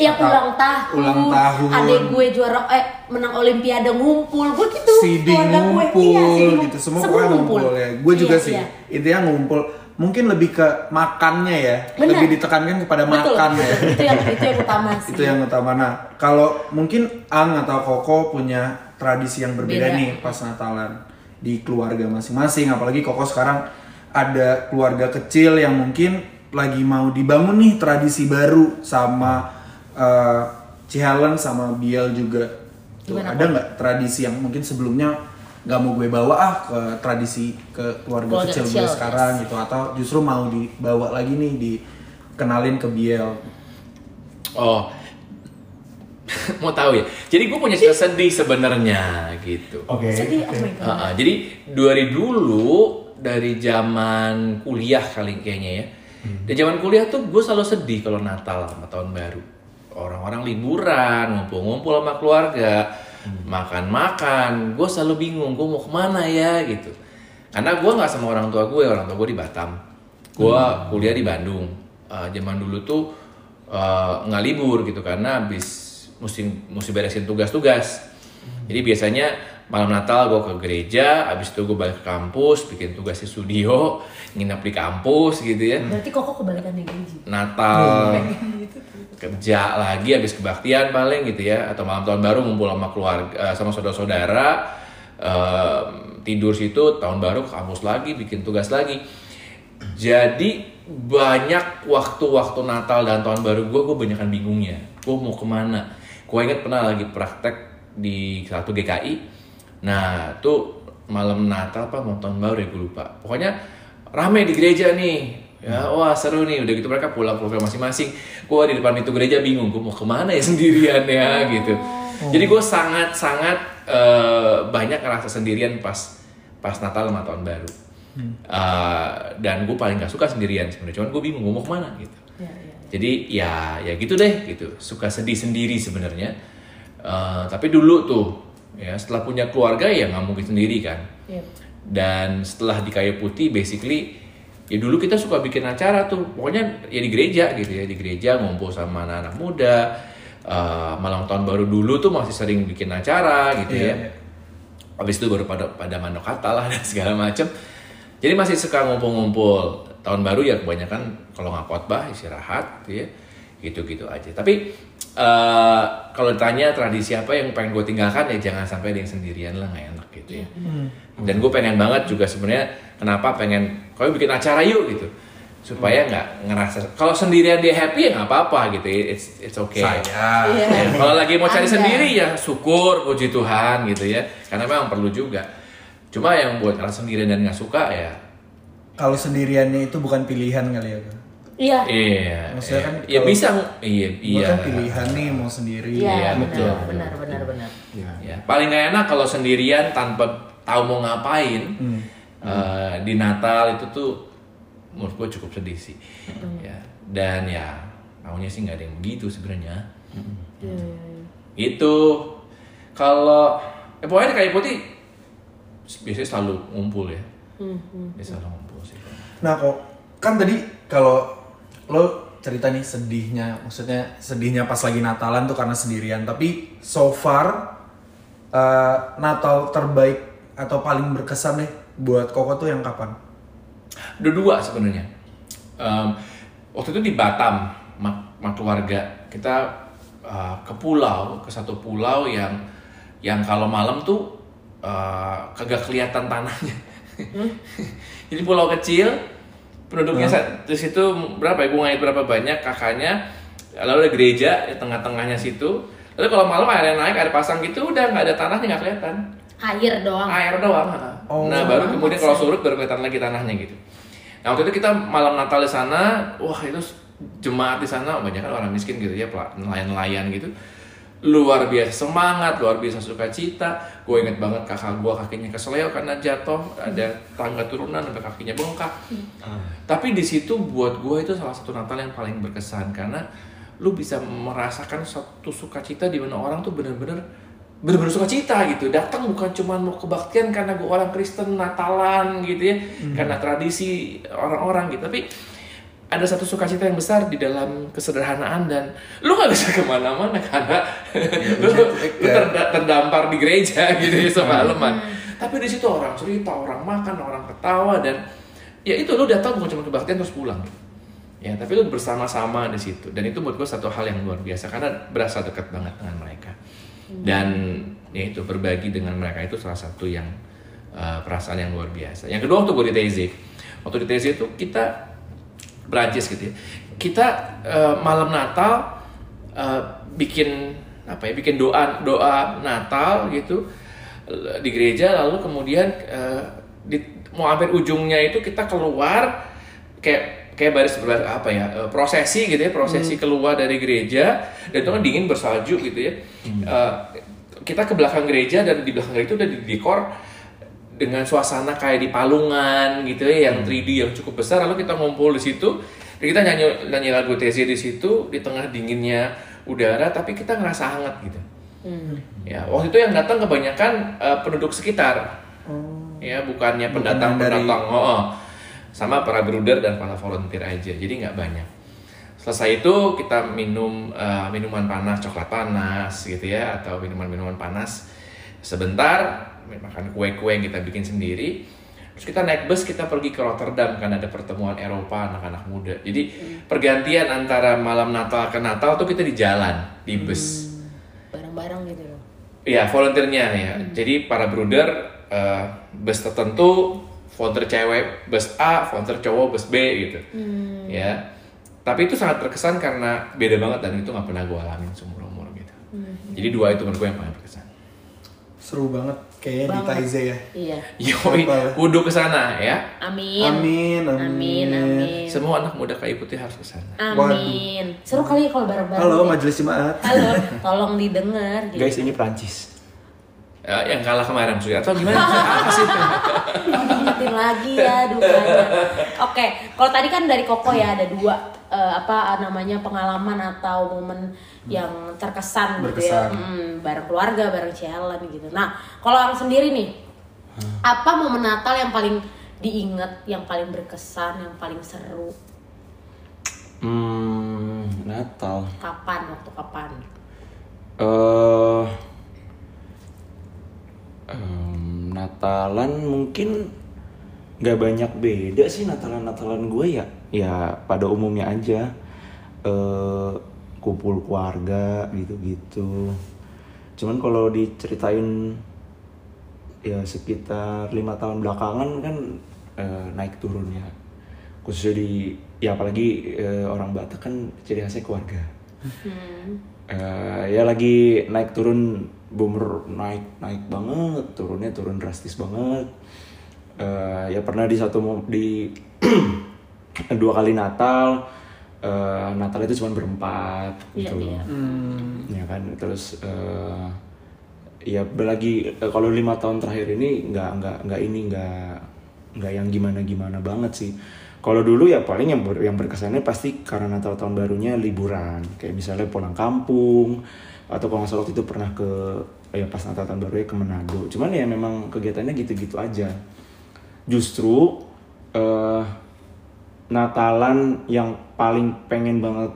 Speaker 2: yang Hmm.
Speaker 1: atau
Speaker 2: Iya, ulang tahun,
Speaker 1: ulang tahun,
Speaker 2: adek gue juara eh menang olimpiade ngumpul gue gitu
Speaker 1: CD
Speaker 2: keluarga gue. Iya,
Speaker 1: ngumpul
Speaker 2: CD ngumpul.
Speaker 1: gitu semua pokoknya ngumpul ya gue juga
Speaker 2: Iya,
Speaker 1: sih
Speaker 2: iya.
Speaker 1: intinya ngumpul mungkin lebih ke makannya ya
Speaker 2: Benar.
Speaker 1: lebih ditekankan kepada
Speaker 2: Betul,
Speaker 1: makan ya
Speaker 2: betul. (laughs) itu yang itu yang utama sih
Speaker 1: itu yang utama nah kalau mungkin Ang atau Koko punya tradisi yang berbeda
Speaker 2: Beda.
Speaker 1: nih pas Natalan di keluarga masing-masing apalagi Koko sekarang ada keluarga kecil yang mungkin lagi mau dibangun nih tradisi baru sama eh Cihalen sama Biel juga Tuh,
Speaker 2: Gimana,
Speaker 1: ada nggak tradisi yang mungkin sebelumnya nggak mau gue bawa ah ke tradisi ke keluarga
Speaker 2: Keluarga
Speaker 1: kecil,
Speaker 2: kecil,
Speaker 1: gue sekarang gitu atau justru mau dibawa lagi nih dikenalin ke Biel
Speaker 3: Oh, (laughs) mau tahu ya? Jadi gue punya cerita sedih sebenarnya gitu.
Speaker 1: oke
Speaker 2: Sedih, oh my god.
Speaker 3: Ah, ah. jadi dari dulu dari zaman kuliah kali kayaknya ya. Dari zaman kuliah tuh gue selalu sedih kalau Natal sama tahun baru. Orang-orang liburan, ngumpul-ngumpul sama keluarga, makan-makan. Gue selalu bingung, gue mau kemana ya gitu. Karena gue nggak sama orang tua gue, orang tua gue di Batam. Gue kuliah di Bandung. Ah, zaman dulu tuh ah, nggak libur gitu karena habis mesti mesti beresin tugas-tugas. Jadi biasanya malam Natal gue ke gereja, abis itu gue balik ke kampus, bikin tugas di studio, nginep di kampus gitu ya.
Speaker 2: Berarti kok kebalikan yang Genji.
Speaker 3: Natal kerja lagi habis kebaktian paling gitu ya atau malam tahun baru ngumpul sama keluarga eh, sama saudara-saudara eh, tidur situ tahun baru ke kampus lagi bikin tugas lagi jadi banyak waktu-waktu Natal dan tahun baru gue gue banyakkan bingungnya gue mau kemana gue inget pernah lagi praktek di satu GKI nah tuh malam Natal apa malam tahun baru ya gue lupa pokoknya rame di gereja nih ya wah seru nih udah gitu mereka pulang keluarga masing-masing gue di depan pintu gereja bingung gue mau kemana ya (laughs) sendirian ya gitu jadi gue sangat sangat eh, banyak ngerasa sendirian pas pas Natal sama tahun baru Eh, dan gue paling gak suka sendirian sebenarnya cuman gue bingung gue mau kemana gitu
Speaker 2: Ya, ya.
Speaker 3: jadi ya ya gitu deh gitu suka sedih sendiri sebenarnya Eh, tapi dulu tuh ya setelah punya keluarga ya nggak mungkin sendiri kan
Speaker 2: Iya.
Speaker 3: dan setelah di kayu putih basically ya dulu kita suka bikin acara tuh pokoknya ya di gereja gitu ya di gereja ngumpul sama anak-anak muda Eh, malam tahun baru dulu tuh masih sering bikin acara gitu
Speaker 1: Iya,
Speaker 3: ya
Speaker 1: iya.
Speaker 3: habis itu baru pada pada mandok kata lah (laughs) dan segala macem jadi masih suka ngumpul-ngumpul tahun baru ya kebanyakan kalau nggak khotbah istirahat gitu ya gitu-gitu aja tapi eh, kalau ditanya tradisi apa yang pengen gue tinggalkan ya jangan sampai ada yang sendirian lah nggak enak gitu ya dan gue pengen banget juga sebenarnya kenapa pengen kalau bikin acara yuk gitu supaya nggak ngerasa kalau sendirian dia happy ya nggak apa-apa gitu it's it's okay
Speaker 1: saya
Speaker 2: Iya.
Speaker 3: Ya, (laughs) kalau lagi mau cari
Speaker 2: Ada.
Speaker 3: sendiri ya syukur puji Tuhan gitu ya karena memang perlu juga cuma yang buat ngerasa sendirian dan nggak suka ya
Speaker 1: kalau sendiriannya itu bukan pilihan kali ya Kak?
Speaker 2: Iya.
Speaker 3: iya
Speaker 1: Maksudnya
Speaker 3: iya.
Speaker 1: kan
Speaker 3: ya
Speaker 1: kalau-
Speaker 3: bisa iya
Speaker 1: Gue
Speaker 3: iya
Speaker 1: kan pilihan nih mau sendiri
Speaker 2: Iya,
Speaker 3: Iya,
Speaker 2: benar,
Speaker 3: betul.
Speaker 2: benar, benar, benar.
Speaker 3: Ya, paling gak enak kalau sendirian tanpa tahu mau ngapain Eh, di Natal itu tuh menurut gue cukup sedih sih ya dan ya maunya sih nggak ada yang begitu sebenarnya gitu kalau eh, pokoknya di kayu putih biasanya selalu ngumpul ya biasanya selalu ngumpul sih
Speaker 1: Nah kok kan tadi kalau lo cerita nih sedihnya, maksudnya sedihnya pas lagi Natalan tuh karena sendirian. Tapi so far eh, Natal terbaik atau paling berkesan deh buat Koko tuh yang kapan?
Speaker 3: ada dua sebenarnya Em, waktu itu di Batam sama sama keluarga kita eh, ke pulau ke satu pulau yang yang kalau malam tuh eh, kagak kelihatan tanahnya (laughs) jadi pulau kecil penduduknya sa- di situ berapa ya gue ngait berapa banyak kakaknya lalu ada gereja di tengah-tengahnya situ lalu kalau malam airnya naik ada pasang gitu udah nggak ada tanahnya nggak kelihatan
Speaker 2: Air doang.
Speaker 3: air doang. nah baru kemudian kalau surut baru kelihatan lagi tanahnya gitu. Nah waktu itu kita malam Natal di sana, wah itu jemaat di sana banyak kan orang miskin gitu ya, pel- nelayan-nelayan gitu. Luar biasa semangat, luar biasa sukacita. Gue inget banget kakak gue kakinya kesleo karena jatuh, ada tangga turunan sampai kakinya bengkak. Tapi di situ buat gue itu salah satu Natal yang paling berkesan karena lu bisa merasakan satu sukacita di mana orang tuh bener-bener bener-bener suka cita gitu datang bukan cuma mau kebaktian karena gue orang Kristen Natalan gitu ya karena tradisi orang-orang gitu tapi ada satu sukacita yang besar di dalam kesederhanaan dan lu nggak bisa kemana-mana karena lu, lu terda- terdampar di gereja gitu ya semalaman tapi di situ orang cerita orang makan orang ketawa dan ya itu lu datang bukan cuma kebaktian terus pulang ya tapi lu bersama-sama di situ dan itu menurut gue satu hal yang luar biasa karena berasa dekat banget dengan mereka dan ya itu berbagi dengan mereka itu salah satu yang uh, perasaan yang luar biasa yang kedua waktu gue di TZ waktu di TZ itu kita Perancis gitu ya kita uh, malam Natal eh, uh, bikin apa ya bikin doa doa Natal gitu l- di gereja lalu kemudian eh, di- mau hampir ujungnya itu kita keluar kayak kayak baris berbaris apa ya eh, prosesi gitu ya prosesi keluar dari gereja dan itu kan dingin bersalju gitu ya Eh, kita ke belakang gereja dan di belakang gereja itu udah didekor dengan suasana kayak di palungan gitu ya yang 3D yang cukup besar lalu kita ngumpul di situ dan kita nyanyi nyanyi lagu TZ di situ di tengah dinginnya udara tapi kita ngerasa hangat gitu ya waktu itu yang datang kebanyakan eh, penduduk sekitar ya bukannya
Speaker 1: Oh.
Speaker 3: pendatang
Speaker 1: yang dari-
Speaker 3: pendatang oh, oh. sama para bruder dan para volunteer aja jadi nggak banyak selesai itu kita minum eh, minuman panas coklat panas gitu ya atau minuman minuman panas sebentar makan kue kue yang kita bikin sendiri terus kita naik bus kita pergi ke Rotterdam karena ada pertemuan Eropa anak-anak muda jadi
Speaker 1: Hmm.
Speaker 3: pergantian antara malam Natal ke Natal tuh kita di jalan di bus
Speaker 1: Hmm.
Speaker 2: bareng-bareng gitu loh
Speaker 3: Iya, volunteernya ya. Jadi para bruder eh, bus tertentu, volunteer cewek bus A, volunteer cowok bus B gitu. Ya. Tapi itu sangat terkesan karena beda banget dan itu nggak pernah gue alamin seumur umur gitu. Jadi dua itu menurut gue yang paling berkesan.
Speaker 1: Seru banget kayaknya di
Speaker 2: Banget.
Speaker 1: Taize ya.
Speaker 2: iya
Speaker 3: Yoi,
Speaker 1: Apa?
Speaker 3: kudu ke sana ya.
Speaker 2: amin
Speaker 1: Amin,
Speaker 2: amin
Speaker 1: amin.
Speaker 2: amin
Speaker 3: Semua anak muda kayu putih harus ke
Speaker 2: Ah.
Speaker 3: sana.
Speaker 2: amin seru kali ya kalau bareng-bareng
Speaker 1: Halo
Speaker 2: ya.
Speaker 1: Majelis Jemaat.
Speaker 2: halo tolong didengar gitu.
Speaker 5: Guys, ini Prancis.
Speaker 3: Eh, yang kalah kemarin maksudnya atau gimana? Apa sih?
Speaker 2: Diingetin lagi ya dukanya. Oke, kalau tadi kan dari Koko ya ada dua eh, apa namanya pengalaman atau momen yang terkesan gitu ya.
Speaker 1: Berkesan.
Speaker 2: Mm, bareng keluarga, bareng jalan gitu. Nah, kalau orang sendiri nih, apa momen Natal yang paling diingat, yang paling berkesan, yang paling seru?
Speaker 5: Hmm, Natal.
Speaker 2: Kapan? Waktu kapan?
Speaker 5: eh em, Natalan mungkin nggak banyak beda sih Natalan-Natalan gue ya. Ya pada umumnya aja. eh kumpul keluarga gitu-gitu. Cuman kalau diceritain ya sekitar lima tahun belakangan kan eh, naik turun ya. Khususnya di ya apalagi eh, orang Batak kan ciri khasnya keluarga. Eh, ya lagi naik turun boomer naik naik banget turunnya turun drastis banget Eh, ya pernah di satu mom- di (clears throat) dua kali Natal eh, Natal itu cuma berempat
Speaker 2: Iya,
Speaker 5: gitu
Speaker 2: iya.
Speaker 1: Hmm,
Speaker 5: ya kan terus eh, ya lagi eh, kalau lima tahun terakhir ini nggak nggak nggak ini nggak nggak yang gimana gimana banget sih kalau dulu ya paling yang ber- yang berkesannya pasti karena Natal tahun barunya liburan kayak misalnya pulang kampung atau kalau nggak salah waktu itu pernah ke ya pas Natal tahun barunya ke Manado cuman ya memang kegiatannya gitu-gitu aja justru eh Natalan yang paling pengen banget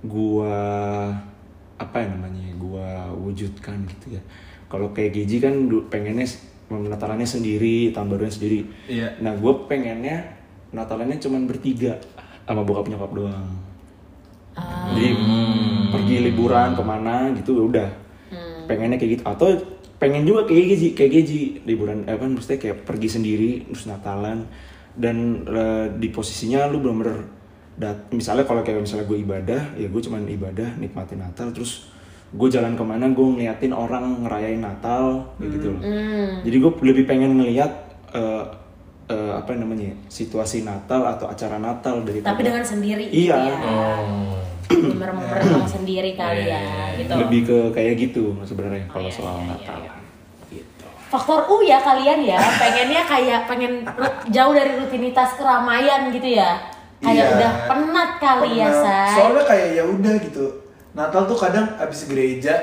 Speaker 5: gua apa ya namanya ya, gua wujudkan gitu ya kalau kayak Gigi kan du- pengennya s- Natalannya sendiri tahun barunya sendiri
Speaker 1: Iya.
Speaker 5: nah gua pengennya Natalannya cuman bertiga sama bokap nyokap doang jadi pergi liburan kemana gitu udah pengennya kayak gitu atau pengen juga kayak Gigi kayak Gigi liburan eh, apa maksudnya kayak pergi sendiri terus Natalan dan eh, di posisinya lu bener-bener dat- misalnya kalau kayak misalnya gue ibadah ya gue cuman ibadah nikmatin Natal terus gue jalan kemana gue ngeliatin orang ngerayain Natal kayak gitu loh
Speaker 2: Hmm.
Speaker 5: jadi gue lebih pengen ngeliat eh, eh, apa namanya ya, situasi Natal atau acara Natal dari
Speaker 2: Hmm, Tapi dengan sendiri
Speaker 5: Iya.
Speaker 2: gitu ya. Merenung-merenung sendiri kali ya
Speaker 3: Iya, Oh. iya, iya.
Speaker 2: gitu.
Speaker 5: lebih ke kayak gitu sebenarnya
Speaker 2: Oh,
Speaker 5: kalau
Speaker 2: iya,
Speaker 5: soal
Speaker 2: iya, iya,
Speaker 5: Natal
Speaker 2: iya.
Speaker 5: gitu
Speaker 2: faktor U ya kalian ya pengennya kayak pengen ru- jauh dari rutinitas keramaian gitu ya kayak
Speaker 1: Iya.
Speaker 2: udah penat kali ya
Speaker 1: Pernah.
Speaker 2: say
Speaker 1: Soalnya kayak ya udah gitu. Natal tuh kadang abis gereja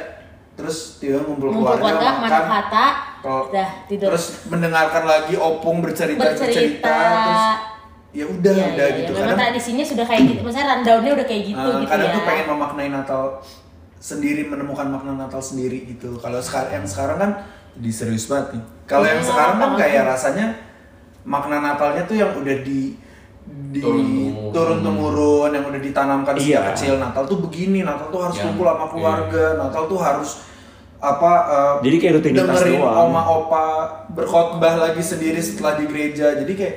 Speaker 1: terus tiba ngumpul,
Speaker 2: ngumpul keluarga mana
Speaker 1: makan.
Speaker 2: kata
Speaker 1: Kalau-
Speaker 2: udah tidur
Speaker 1: Terus mendengarkan lagi opung bercerita
Speaker 2: Bercerita.
Speaker 1: terus ya udah
Speaker 2: Iya,
Speaker 1: udah
Speaker 2: iya,
Speaker 1: gitu.
Speaker 2: iya. memang tradisinya sudah kayak gitu maksudnya rundownnya udah kayak gitu
Speaker 1: Nah,
Speaker 2: gitu
Speaker 1: kadang
Speaker 2: ya
Speaker 1: tuh pengen memaknai Natal sendiri menemukan makna Natal sendiri gitu kalau sekarang yang sekarang kan jadi serius banget nih kalau yang
Speaker 2: Iya,
Speaker 1: sekarang kan
Speaker 2: banget.
Speaker 1: kayak rasanya makna Natalnya tuh yang udah di di
Speaker 3: Turun-temurun.
Speaker 1: turun temurun yang udah ditanamkan sejak
Speaker 5: Iya. Ya.
Speaker 1: kecil Natal tuh begini Natal tuh harus
Speaker 3: Yang-
Speaker 1: kumpul sama keluarga Natal tuh harus apa eh,
Speaker 5: Jadi kayak rutinitas
Speaker 1: dengerin
Speaker 5: doang.
Speaker 1: oma opa berkhotbah lagi sendiri setelah di gereja jadi kayak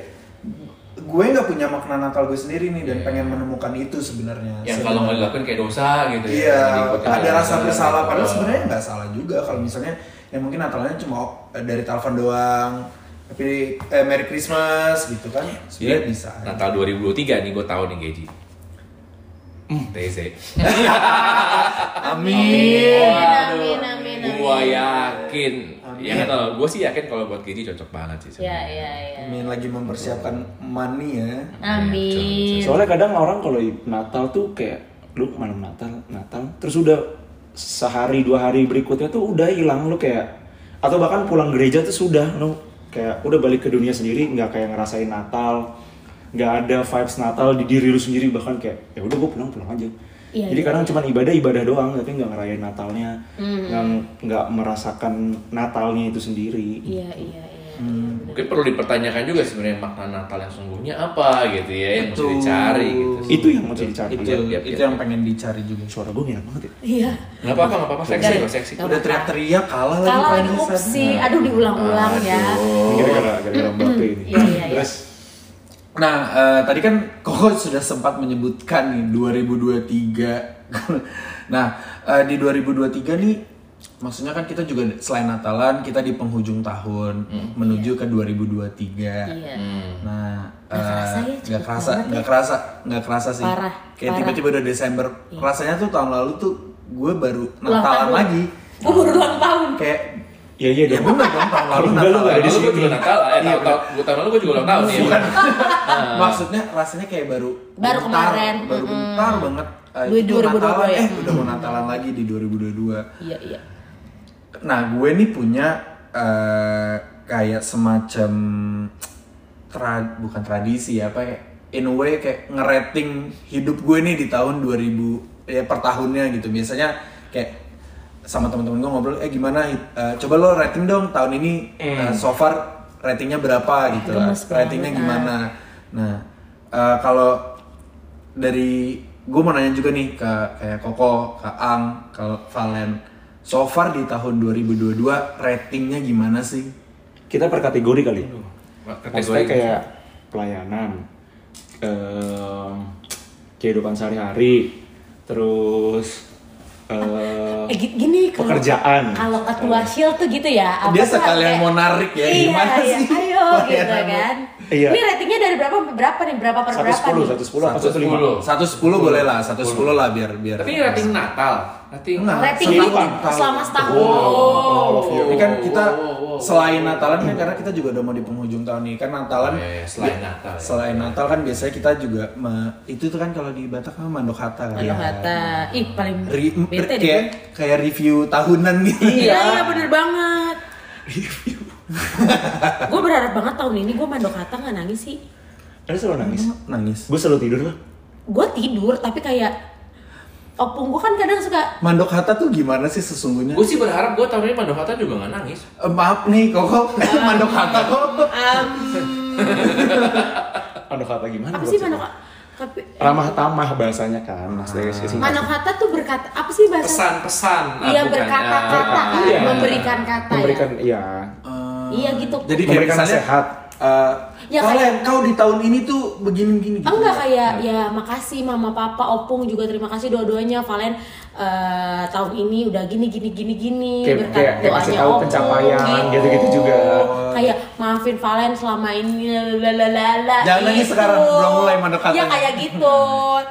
Speaker 1: gue nggak punya makna Natal gue sendiri nih dan
Speaker 3: Iya.
Speaker 1: pengen menemukan itu sebenarnya
Speaker 3: Yang kalau nggak dilakuin kayak dosa gitu ya.
Speaker 1: Iya,
Speaker 3: Jadi ikut
Speaker 1: ada
Speaker 3: dosa,
Speaker 1: rasa bersalah padahal
Speaker 3: gitu.
Speaker 1: sebenarnya nggak salah juga kalau misalnya ya mungkin Natalnya cuma eh, dari telepon doang tapi eh, Merry Christmas gitu kan sebenarnya bisa
Speaker 3: Iya. Natal 2023 nih gue tahu nih Geji. TC.
Speaker 1: Amin
Speaker 2: amin, amin, amin.
Speaker 3: Gue yakin. Ya kan kalau gue sih yakin kalau buat Geji cocok banget sih.
Speaker 2: Iya,
Speaker 3: sebenarnya.
Speaker 2: iya, iya.
Speaker 1: Amin lagi mempersiapkan money ya
Speaker 2: Amin.
Speaker 5: Soalnya kadang orang kalau Natal tuh kayak lu malam Natal, Natal, terus udah sehari dua hari berikutnya tuh udah hilang lu kayak atau bahkan pulang gereja tuh sudah lu kayak udah balik ke dunia sendiri nggak kayak ngerasain Natal nggak ada vibes Natal di diri lu sendiri bahkan kayak ya udah gue pulang pulang aja
Speaker 2: Iya,
Speaker 5: jadi
Speaker 2: iya,
Speaker 5: kadang cuman ibadah ibadah doang tapi nggak ngerayain Natalnya nggak nggak merasakan Natalnya itu sendiri
Speaker 2: Iya, iya, iya.
Speaker 1: Hmm.
Speaker 3: Mungkin perlu dipertanyakan juga sebenarnya makna Natal yang sungguhnya apa gitu ya yang mesti
Speaker 1: Betul.
Speaker 3: dicari gitu.
Speaker 5: itu yang mau dicari
Speaker 1: itu
Speaker 5: Iya.
Speaker 3: iya,
Speaker 1: itu
Speaker 3: iya.
Speaker 1: yang pengen dicari juga
Speaker 5: suara gue ngilang banget ya
Speaker 2: Iya.
Speaker 3: Gak apa-apa, gak apa-apa, seksi
Speaker 2: Enggak.
Speaker 3: kok, seksi
Speaker 2: Enggak.
Speaker 1: udah teriak-teriak kalah lagi
Speaker 2: Kalau lagi
Speaker 1: Vanessa.
Speaker 2: opsi, aduh diulang-ulang ya.
Speaker 3: Aduh.
Speaker 5: gara-gara gara-gara Mbappe ini
Speaker 2: Iya, iya, iya.
Speaker 5: terus
Speaker 1: Nah, eh, tadi kan Koko sudah sempat menyebutkan nih 2023. (laughs) nah, eh, di 2023 nih maksudnya kan kita juga selain Natalan, kita di penghujung tahun menuju ke 2023.
Speaker 2: Iya.
Speaker 1: Nah,
Speaker 2: Nggak kerasa ya,
Speaker 1: eh, nggak
Speaker 2: cepet banget
Speaker 1: kerasa,
Speaker 2: ya.
Speaker 1: nggak kerasa, nggak kerasa sih.
Speaker 2: Parah,
Speaker 1: Kayak
Speaker 2: parah.
Speaker 1: tiba-tiba udah Desember. Rasanya tuh tahun lalu tuh gue baru
Speaker 2: Ulang
Speaker 1: Natalan
Speaker 2: tahun.
Speaker 1: lagi.
Speaker 2: Gue baru ulang tahun.
Speaker 1: Kayak
Speaker 5: Iya iya
Speaker 1: ya
Speaker 5: dong.
Speaker 1: bener dong tahun lalu
Speaker 5: Kalau enggak, lu
Speaker 1: Natalan.
Speaker 5: nggak ada
Speaker 3: Tahun
Speaker 5: di
Speaker 3: lalu gue
Speaker 5: sini.
Speaker 3: juga Natal, eh, tahun, tahun, tahun lalu gue juga ulang tahun ya.
Speaker 1: Maksudnya rasanya kayak baru
Speaker 2: Baru
Speaker 1: bentar,
Speaker 2: kemarin,
Speaker 1: baru
Speaker 2: mm-mm.
Speaker 1: bentar banget eh,
Speaker 2: Dua-
Speaker 1: itu udah
Speaker 2: 2022
Speaker 1: Natalan,
Speaker 2: ya?
Speaker 1: eh udah mau Natalan lagi di 2022.
Speaker 2: Iya, iya.
Speaker 1: Nah, gue nih punya eh, kayak semacam tra- bukan tradisi ya, apa ya? In a way kayak ngerating hidup gue nih di tahun 2000 ya per tahunnya gitu. Biasanya kayak sama teman-teman gue ngobrol, eh gimana? eh, coba lo rating dong tahun ini eh, so far ratingnya berapa gitu. lah.
Speaker 2: Gemes banget,
Speaker 1: Ratingnya
Speaker 2: ah.
Speaker 1: gimana? Nah, eh, kalau dari gue mau nanya juga nih ke kayak Koko, ke Ang, ke Valen. So far di tahun 2022 ratingnya gimana sih?
Speaker 5: Kita per kategori kali. Maksudnya
Speaker 3: Kategori
Speaker 5: kayak pelayanan, eh, kehidupan sehari-hari, terus eh,
Speaker 2: Eh gi- gini kalau
Speaker 5: pekerjaan.
Speaker 2: Kalau
Speaker 1: Iya.
Speaker 2: ketua shield tuh gitu ya.
Speaker 1: Kan Dia
Speaker 2: tuh kayak-
Speaker 1: sekalian mau narik ya,
Speaker 2: Iya,
Speaker 1: gimana
Speaker 2: iya.
Speaker 1: sih? (laughs)
Speaker 2: Ayo gitu
Speaker 1: Pelayanan
Speaker 2: kan.
Speaker 5: Iya.
Speaker 2: Ini ratingnya dari berapa sampai berapa nih? Berapa per
Speaker 5: Satu
Speaker 2: berapa?
Speaker 5: sepuluh,
Speaker 2: nih?
Speaker 5: satu sepuluh, apa satu lima?
Speaker 3: 110.
Speaker 1: 110 boleh lah, 110 lah biar biar.
Speaker 3: Tapi ini rating Natal, rating
Speaker 5: Nah,
Speaker 1: Enggak,
Speaker 2: Rating
Speaker 1: setahun,
Speaker 2: hidup
Speaker 1: tahun.
Speaker 2: selama setahun. Oh.
Speaker 1: Ini kan kita
Speaker 3: Wow, wow, wow.
Speaker 1: selain Natalan kan karena kita juga udah mau di penghujung tahun nih kan Natalan
Speaker 3: Oh, iya, iya, selain Natal, ya.
Speaker 1: selain Natal kan biasanya kita juga me- itu tuh kan kalau di Batak kan mandok hatta kan
Speaker 2: Aduh kata,
Speaker 5: Iya.
Speaker 2: ih paling
Speaker 1: Ri-
Speaker 2: bete deh.
Speaker 1: kayak kayak review tahunan gitu
Speaker 2: gue. Iya, iya bener banget. (laughs) gue berharap banget tahun ini gue mandok kata nggak nangis sih.
Speaker 5: Ada selalu nangis.
Speaker 1: (laughs) nangis
Speaker 5: Gue selalu tidur lah.
Speaker 2: Gue tidur tapi kayak opung gue kan kadang suka
Speaker 1: mandok hatta tuh gimana sih sesungguhnya
Speaker 3: Gue sih berharap gue tahun ini Mandokata juga gak nangis
Speaker 1: Eh, maaf nih
Speaker 2: (laughs)
Speaker 1: kok
Speaker 2: Ah.
Speaker 1: mandok hatta kok
Speaker 5: Aduh kata gimana?
Speaker 2: apa sih
Speaker 5: maksudnya?
Speaker 2: mandok tapi
Speaker 5: Ramah tamah bahasanya kan, maksudnya sih.
Speaker 2: mandok kata tuh berkata apa sih bahasa
Speaker 3: Pesan-pesan ah,
Speaker 2: Iya
Speaker 3: bukan,
Speaker 2: berkata-kata,
Speaker 3: ah, iya.
Speaker 2: memberikan kata
Speaker 5: Memberikan,
Speaker 2: ya.
Speaker 5: iya.
Speaker 2: Iya gitu.
Speaker 1: Eh, jadi kayak
Speaker 5: Memberikan
Speaker 1: misalnya
Speaker 5: nasihat.
Speaker 1: eh,
Speaker 2: Ya,
Speaker 1: Valen, kau di tahun ini tuh begini gini gitu
Speaker 2: Enggak
Speaker 5: Iya.
Speaker 2: kayak ya makasih mama papa opung juga terima kasih dua-duanya Valen eh, tahun ini udah gini gini gini gini
Speaker 5: Kayak- kayak- kayak kasih tahu pencapaian, gitu-gitu juga.
Speaker 2: gitu. kayak maafin Valen selama ini lalalala
Speaker 1: Jangan nangis sekarang, belum mulai
Speaker 2: ya
Speaker 1: mandek katanya.
Speaker 2: gitu. kayak gitu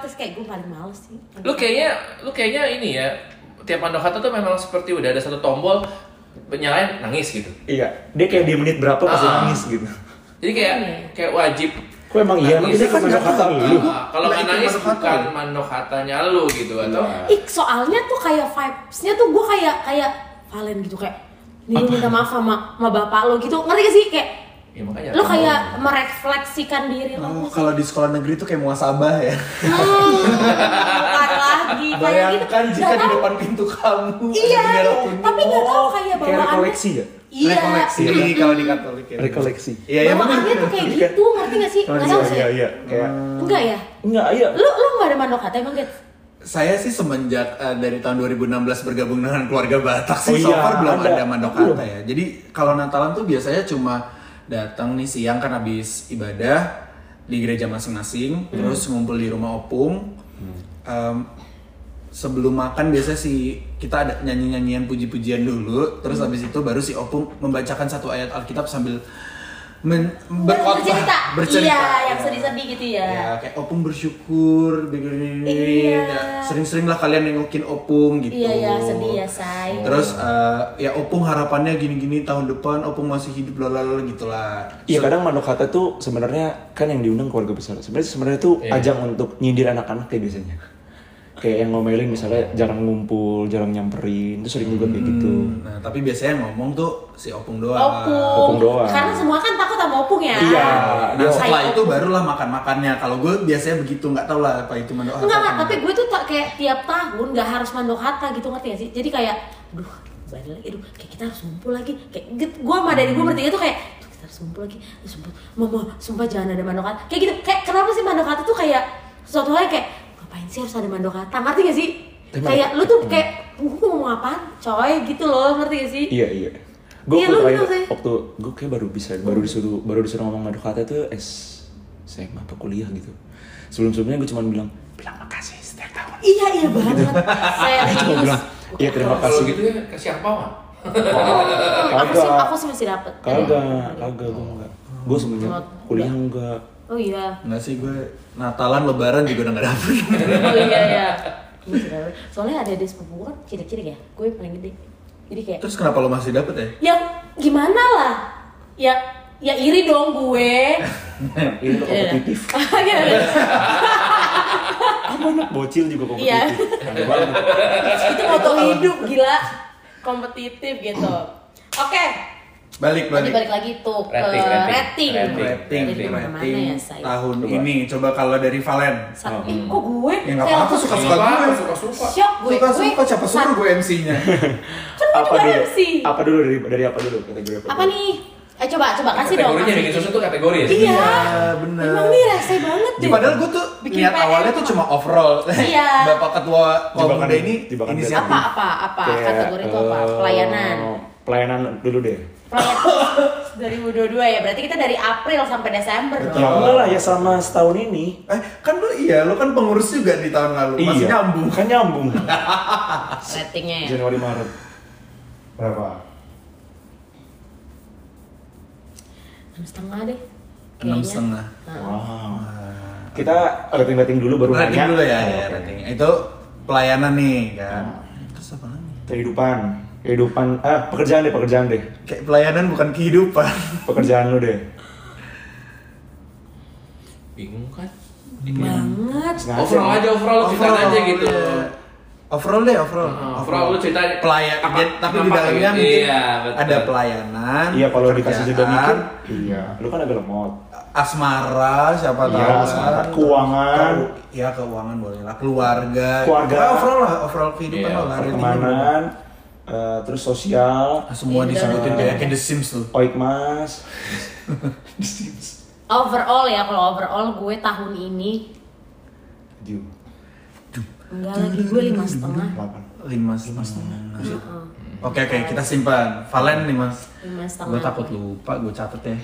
Speaker 2: terus kayak gue paling males sih
Speaker 3: Lu kayaknya, lu kayaknya ini ya Tiap Mandokata tuh memang seperti udah ada satu tombol Nyalain nangis gitu
Speaker 5: Iya, dia kayak di menit berapa pasti
Speaker 3: Ah.
Speaker 5: nangis gitu.
Speaker 3: Jadi kayak
Speaker 2: Iya.
Speaker 3: kayak wajib
Speaker 5: Kok emang iya?
Speaker 3: Nangis.
Speaker 5: Itu kan mandok kata lu.
Speaker 3: Ah, Kalau
Speaker 1: Nah,
Speaker 3: nggak
Speaker 1: itu
Speaker 3: nangis
Speaker 1: Mandokata.
Speaker 3: bukan Mandokatanya lu gitu Atau
Speaker 5: Iya.
Speaker 2: Ih, soalnya tuh kayak vibes-nya tuh gue kayak kayak Valen gitu kayak nih lu minta maaf sama, sama bapak lo gitu ngerti gak sih kayak
Speaker 3: Ya
Speaker 5: Iya,
Speaker 3: makanya
Speaker 2: lo kayak merefleksikan diri lo
Speaker 1: Oh, kalau di sekolah negeri tuh kayak muasabah ya.
Speaker 2: gitu. bukan lagi kayak gitu
Speaker 1: Bayangkan jika
Speaker 2: Nggak
Speaker 1: di
Speaker 2: tahu.
Speaker 1: depan pintu kamu
Speaker 2: iya
Speaker 1: ada bendera kuning.
Speaker 2: tapi gak tahu Oh, kayak
Speaker 5: Kayak
Speaker 2: bawaannya
Speaker 5: rekoleksi ya?
Speaker 2: iya
Speaker 1: Rekoleksi kalau di Katolik ya.
Speaker 5: Rekoleksi.
Speaker 1: Iya, iya bener.
Speaker 2: bawaannya tuh kayak gitu ngerti gak sih nggak tahu sih
Speaker 5: Iya, iya. Kayak,
Speaker 2: enggak ya
Speaker 5: enggak, iya.
Speaker 2: lu lu nggak ada mandok kata emang gitu
Speaker 1: Saya sih semenjak eh, dari tahun 2016 bergabung dengan keluarga Batak sih
Speaker 5: Oh
Speaker 1: so
Speaker 5: iya,
Speaker 1: far belum ada,
Speaker 5: ada.
Speaker 1: mandokata ya. Jadi kalau Natalan tuh biasanya cuma datang nih siang kan habis ibadah di gereja masing-masing, terus ngumpul di rumah opung. Em, sebelum makan biasanya si kita ada nyanyi-nyanyian puji-pujian dulu, terus habis itu baru si Opung membacakan satu ayat Alkitab sambil men- berkhotbah,
Speaker 2: bercerita.
Speaker 1: bercerita.
Speaker 2: Iya, yang
Speaker 1: Ya.
Speaker 2: sedih-sedih gitu ya.
Speaker 5: Iya.
Speaker 1: Ya, kayak opung bersyukur, begini,
Speaker 2: Iya.
Speaker 1: ya, sering-sering lah kalian nengokin opung gitu.
Speaker 2: Iya, ya, sedih ya, say.
Speaker 1: Terus eh, ya opung harapannya gini-gini tahun depan opung masih hidup lalala gitulah. Gitu.
Speaker 5: Iya kadang mano kata tuh sebenarnya kan yang diundang keluarga besar. Sebenarnya sebenarnya tuh
Speaker 3: Iya.
Speaker 5: ajang untuk nyindir anak-anak kayak biasanya. Kayak yang ngomelin misalnya jarang ngumpul, jarang nyamperin, itu sering juga kayak gitu.
Speaker 2: Hmm.
Speaker 1: Nah tapi biasanya yang ngomong tuh si opung doang.
Speaker 2: Opung.
Speaker 5: Opung doang.
Speaker 2: Karena semua kan takut sama opung ya.
Speaker 5: Iya.
Speaker 1: Nah setelah itu barulah makan-makannya. Kalau gue biasanya begitu nggak tau lah apa itu mendoakan.
Speaker 2: Enggak, enggak, tapi gue tuh tak kayak tiap tahun gak harus mandok harta gitu ngerti gak sih? Jadi kayak, aduh, balik lagi, aduh, kayak kita harus ngumpul lagi. Kayak get- gue sama dari gue
Speaker 5: Hmm.
Speaker 2: bertiga tuh kayak, "Aduh, kita harus ngumpul lagi, Aduh, sumpah, mama, sumpah jangan ada mandok harta. Kayak gitu, kayak kenapa sih mandok harta tuh kayak suatu hal yang kayak ngapain sih harus ada mandok harta? Ngerti gak sih? kayak lu
Speaker 5: Hmm.
Speaker 2: tuh kayak gue ngomong apaan coy gitu loh ngerti gak sih?
Speaker 5: Iya iya. Gue
Speaker 2: Iya,
Speaker 5: waktu
Speaker 2: lu
Speaker 5: terakhir
Speaker 2: bener sih.
Speaker 5: waktu gue kayak baru bisa baru disuruh baru disuruh ngomong ngadu kata tuh es saya apa kuliah gitu. Sebelum sebelumnya gue cuma bilang bilang makasih setiap
Speaker 3: (laughs)
Speaker 5: tahun.
Speaker 2: Iya iya
Speaker 5: (laughs)
Speaker 2: banget. gitu. Saya
Speaker 5: Cuma bilang iya terima
Speaker 3: Kalau
Speaker 5: kasih.
Speaker 3: gitu ya kasih arpawan.
Speaker 2: aku sih aku sih masih dapet.
Speaker 5: Kagak kagak gue enggak. Gue sebelumnya kuliah enggak.
Speaker 2: Oh iya.
Speaker 1: Nggak sih gue Natalan Lebaran juga udah nggak dapet. (laughs)
Speaker 2: Oh iya ya. Gue masih dapet. Soalnya ada ada sepupu kan cilik-cilik ya. Gue paling gede. Jadi kayak
Speaker 1: Terus kenapa lo masih dapet ya?
Speaker 2: ya gimana lah. Ya ya iri dong gue.
Speaker 5: Ini kompetitif.
Speaker 2: (laughs) Iya.
Speaker 5: Kamu anak bocil juga
Speaker 2: Iya.
Speaker 5: kompetitif. Ada banget.
Speaker 2: Itu moto hidup gila. Kompetitif gitu. Oke,
Speaker 1: Balik
Speaker 2: nanti
Speaker 1: balik.
Speaker 2: balik lagi tuh ke
Speaker 3: Rating, rating.
Speaker 2: rating.
Speaker 3: Rating.
Speaker 1: Rating,
Speaker 2: Dari
Speaker 1: rating,
Speaker 2: mana-mana ya, say.
Speaker 1: tahun ini. Coba kalau dari Valen.
Speaker 2: Sa- Ih, kok gue?
Speaker 1: Ya nggak
Speaker 2: Saya
Speaker 1: apa-apa
Speaker 2: langsung
Speaker 1: suka suka gue.
Speaker 3: suka suka.
Speaker 2: Shock gue.
Speaker 1: Suka suka
Speaker 2: Gue-
Speaker 1: siapa suruh gue MC-nya.
Speaker 2: (laughs) Kan
Speaker 5: Apa
Speaker 2: gue juga
Speaker 5: dulu?
Speaker 2: MC.
Speaker 5: Apa dulu dari dari apa dulu kategori apa?
Speaker 2: Apa
Speaker 5: dulu?
Speaker 2: nih? Eh coba, coba kasih dong.
Speaker 3: Kategorinya
Speaker 2: kasih.
Speaker 3: bikin susu tuh kategori ya.
Speaker 2: Iya,
Speaker 1: bener.
Speaker 2: Emang nih rese banget deh.
Speaker 1: Padahal gue tuh
Speaker 2: Bikin
Speaker 1: niat
Speaker 2: PR
Speaker 1: awalnya tuh cuma overall.
Speaker 2: (laughs) Iya.
Speaker 1: (laughs) Bapak ketua
Speaker 5: Jebakan-
Speaker 1: Komda ini
Speaker 5: jebakan
Speaker 1: ini
Speaker 5: band.
Speaker 2: apa apa apa
Speaker 5: Kayak,
Speaker 2: kategori itu apa?
Speaker 5: eh,
Speaker 2: Pelayanan.
Speaker 5: Pelayanan dulu deh.
Speaker 2: Pelayanan 2022 ya. Berarti kita dari April sampai Desember
Speaker 5: Ya
Speaker 2: dong.
Speaker 5: enggak lah ya sama setahun ini.
Speaker 1: Eh, kan lu iya, lu kan pengurus juga di tahun lalu. Masih nyambung.
Speaker 5: Kan nyambung.
Speaker 2: Ratingnya ya.
Speaker 5: Januari Maret.
Speaker 1: Berapa?
Speaker 2: Enam setengah deh.
Speaker 1: Enam
Speaker 2: kayaknya.
Speaker 1: setengah.
Speaker 5: Wow. Kita rating-rating dulu baru
Speaker 1: Rating
Speaker 5: nanya.
Speaker 1: dulu ya,
Speaker 5: Oh,
Speaker 1: ya
Speaker 5: oke.
Speaker 1: rating. Itu pelayanan nih kan.
Speaker 2: Oh.
Speaker 1: Terus apa lagi?
Speaker 5: Kehidupan. Kehidupan ah pekerjaan deh, pekerjaan deh.
Speaker 1: Kayak pelayanan bukan kehidupan. (laughs)
Speaker 5: Pekerjaan lu deh.
Speaker 3: Bingung kan?
Speaker 2: Banget.
Speaker 3: Overall Oh, aja, overall cerita aja gitu.
Speaker 1: ya. Overall deh, overall.
Speaker 3: Nah, overall lu ceritain
Speaker 1: pelayan
Speaker 3: apa-
Speaker 1: dia- tapi di
Speaker 3: apa-
Speaker 1: dalamnya
Speaker 3: iya,
Speaker 1: mungkin
Speaker 3: betul.
Speaker 1: ada pelayanan.
Speaker 5: Iya kalau dikasih jeda
Speaker 1: pekerjaan,
Speaker 5: mikir. Iya, lu kan agak lemot.
Speaker 1: asmara siapa
Speaker 5: Iya,
Speaker 1: tahu
Speaker 5: asmara.
Speaker 1: kan.
Speaker 5: Keuangan.
Speaker 1: Ke- ya keuangan boleh lah keluarga
Speaker 5: Keluarga.
Speaker 1: Pokoknya overall lah overall kehidupan
Speaker 3: Iya,
Speaker 1: lah ratingnya berapa.
Speaker 5: Pertemanan, eh, terus sosial, oh,
Speaker 1: semua
Speaker 2: Iya.
Speaker 1: disebutin kayak kayak The Sims tuh
Speaker 5: oikmas,
Speaker 2: Overall ya kalau overall gue tahun ini
Speaker 5: Aduh,
Speaker 2: enggak lagi gue lima setengah.
Speaker 5: gitu. delapan.
Speaker 1: lima setengah oke oke kita simpan Valen lima
Speaker 2: Lima setengah.
Speaker 1: gue takut lupa gue catet ya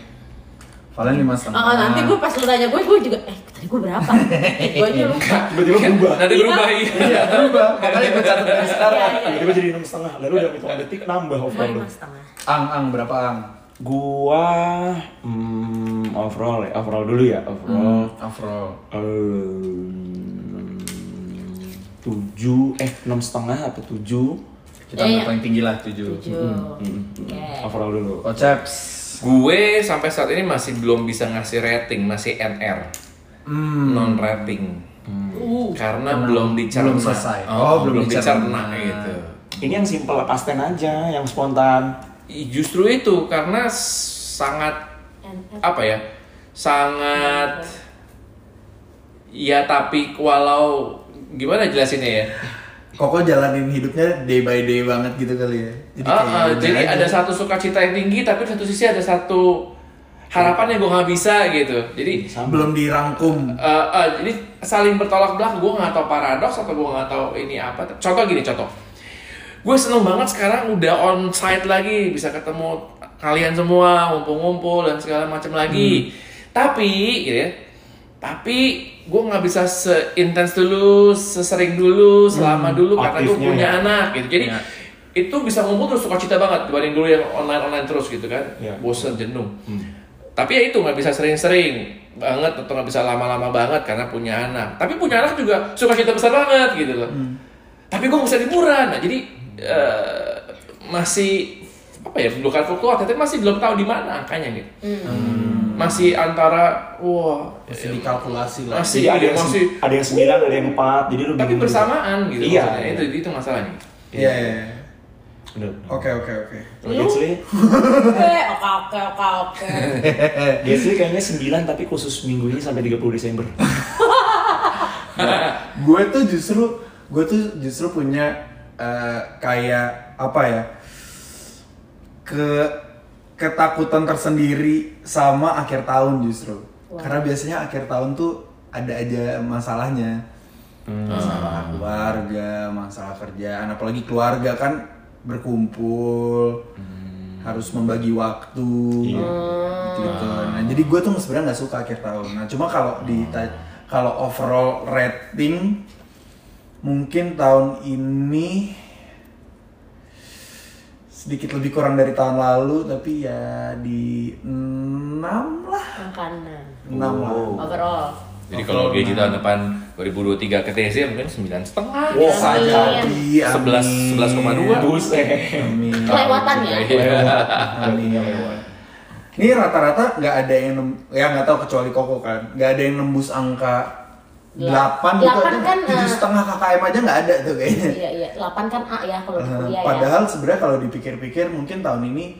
Speaker 1: Valen
Speaker 2: Oh,
Speaker 1: lima setengah
Speaker 2: oh, nanti gue pas lu tanya gue, gue juga, eh tadi gue
Speaker 1: (laughs)
Speaker 2: berapa? Eh, gue aja lupa.
Speaker 5: Tiba-tiba berubah.
Speaker 3: Nanti berubah iya.
Speaker 1: Iya, berubah
Speaker 3: (laughs)
Speaker 1: makanya gue catet dari sekarang
Speaker 2: Iya, iya.
Speaker 5: Tiba-tiba jadi enam setengah. Lalu udah hitungan detik nambah
Speaker 2: Gue
Speaker 5: overall lu.
Speaker 2: lima setengah.
Speaker 1: ang ang berapa ang
Speaker 5: Gua hmm, overall ya, overall dulu ya,
Speaker 1: Oh. Hmm.
Speaker 5: overall. eh,
Speaker 1: overall
Speaker 5: em, tujuh eh enam setengah apa tujuh
Speaker 1: kita nggak paling tinggi lah tujuh Oh,
Speaker 2: Tujuh. Oke.
Speaker 5: overall dulu
Speaker 1: Oceps
Speaker 3: Gue sampai saat ini masih belum bisa ngasih rating, masih NR. Non rating. Karena belum dicerna.
Speaker 1: Hmm. Belum selesai.
Speaker 3: Oh,
Speaker 1: Oh, belum
Speaker 3: belum, dicerna.
Speaker 1: dicerna.
Speaker 3: gitu.
Speaker 5: ini yang simple pasten aja yang spontan
Speaker 3: I- Justru itu karena s- sangat
Speaker 2: Uh.
Speaker 3: apa ya? Sangat ya tapi walau gimana jelasinnya ya?
Speaker 1: Koko jalanin hidupnya day by day banget gitu kali ya. Jadi,
Speaker 3: Ah,
Speaker 1: kayak
Speaker 3: ah,
Speaker 1: udah
Speaker 3: jadi
Speaker 1: aja.
Speaker 3: ada satu sukacita yang tinggi tapi di satu sisi ada satu harapan yang gue nggak bisa gitu. Jadi
Speaker 1: belum dirangkum.
Speaker 3: Eh, eh, jadi saling bertolak belakang gue nggak tahu paradoks atau gue nggak tahu ini apa contoh gini contoh gue seneng banget sekarang udah on site lagi bisa ketemu kalian
Speaker 4: Hmm.
Speaker 3: semua ngumpul-ngumpul dan segala macam lagi tapi gitu ya tapi gue nggak bisa seintens dulu, sesering dulu, selama dulu karena gue
Speaker 4: Hmm, aktifnya
Speaker 3: punya
Speaker 4: ya.
Speaker 3: anak gitu. Jadi itu bisa ngumpul terus sukacita banget dibanding dulu yang online-online terus gitu kan,
Speaker 5: Iya.
Speaker 3: bosen jenuh. Tapi ya itu nggak bisa sering-sering banget atau nggak bisa lama-lama banget karena punya anak. Tapi punya anak juga sukacita besar banget gitu loh.
Speaker 5: Hmm.
Speaker 3: Tapi gue nggak bisa liburan, nah jadi eh, masih apa ya bukan fluktuatif tapi masih belum tahu di mana angkanya gitu. Masih antara wah
Speaker 1: Masih dikalkulasi lah.
Speaker 5: Jadi
Speaker 3: masih
Speaker 5: ada yang,
Speaker 3: masih
Speaker 5: sem- ada yang sembilan, ada yang empat, jadi lu
Speaker 3: tapi
Speaker 5: bingung juga.
Speaker 3: bersamaan gitu
Speaker 5: Iya,
Speaker 3: maksudnya.
Speaker 5: iya.
Speaker 3: itu itu masalahnya
Speaker 1: Iya, iya. iya.
Speaker 5: Bener.
Speaker 1: Oke, oke, oke.
Speaker 5: Kalau Gensli,
Speaker 2: Oke, oke, oke, oke, oke.
Speaker 5: Gensli eh, kayaknya sembilan tapi khusus minggu ini sampai 30 Desember.
Speaker 1: gue tuh justru gue tuh justru punya eh, kayak apa ya ke ketakutan tersendiri sama akhir tahun justru karena biasanya akhir tahun tuh ada aja masalahnya masalah keluarga masalah kerjaan apalagi keluarga kan berkumpul harus membagi waktu gitu nah jadi gue tuh sebenarnya nggak suka akhir tahun nah cuma kalau di kalau overall rating mungkin tahun ini sedikit lebih kurang dari tahun lalu tapi ya di 6 lah
Speaker 2: Makanan.
Speaker 1: 6 lah
Speaker 2: Oh. Overall.
Speaker 3: jadi kalau gaji tahun depan 2023 ke TC ya mungkin sembilan setengah
Speaker 5: Wow,
Speaker 1: bisa
Speaker 2: Amin.
Speaker 1: jadi
Speaker 3: sebelas
Speaker 1: amin.
Speaker 3: sebelas koma dua
Speaker 5: Buset.
Speaker 1: amin
Speaker 2: Kelewatan ya.
Speaker 1: amin ini rata-rata nggak ada yang nem- ya nggak tahu kecuali koko kan nggak ada yang nembus angka 8 gitu
Speaker 2: Delapan
Speaker 1: ada
Speaker 2: kan,
Speaker 1: tujuh
Speaker 2: eh,
Speaker 1: setengah KKM aja nggak ada tuh kayaknya
Speaker 2: Iya, iya. 8 kan A ya kalau di
Speaker 1: Uh,
Speaker 2: kuliah ya.
Speaker 1: Padahal sebenarnya kalau dipikir-pikir mungkin tahun ini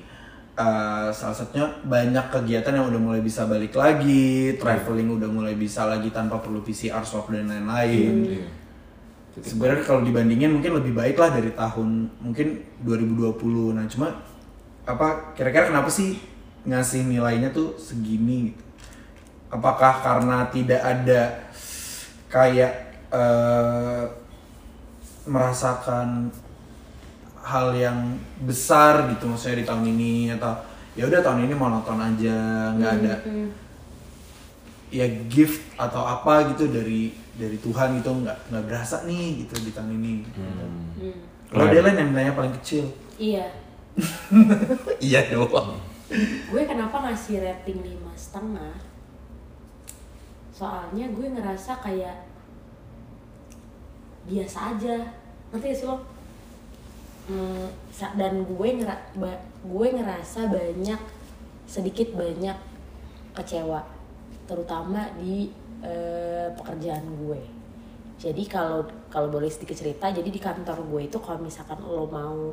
Speaker 1: uh, salah satunya banyak kegiatan yang udah mulai bisa balik lagi, traveling udah mulai bisa lagi tanpa perlu PCR swab dan lain-lain. Sebenarnya kalau dibandingin mungkin lebih baik lah dari tahun mungkin 2020. Nah cuma apa kira-kira kenapa sih ngasih nilainya tuh segini? Gitu? Apakah karena tidak ada kayak eh, merasakan hal yang besar gitu maksudnya di tahun ini atau ya udah tahun ini monoton aja nggak ada ya gift atau apa gitu dari dari Tuhan gitu nggak nggak berasa nih gitu di tahun ini
Speaker 2: Hmm.
Speaker 1: kalau dia lain yang nanya paling kecil
Speaker 2: Iya.
Speaker 1: iya doang
Speaker 2: Gue kenapa ngasih rating lima setengah? Soalnya gue ngerasa kayak biasa aja. Ngerti gak sih lo? Hmm, sa- dan gue ngera ba- gue ngerasa banyak sedikit banyak kecewa terutama di eh, pekerjaan gue jadi kalau kalau boleh sedikit cerita jadi di kantor gue itu kalau misalkan lo mau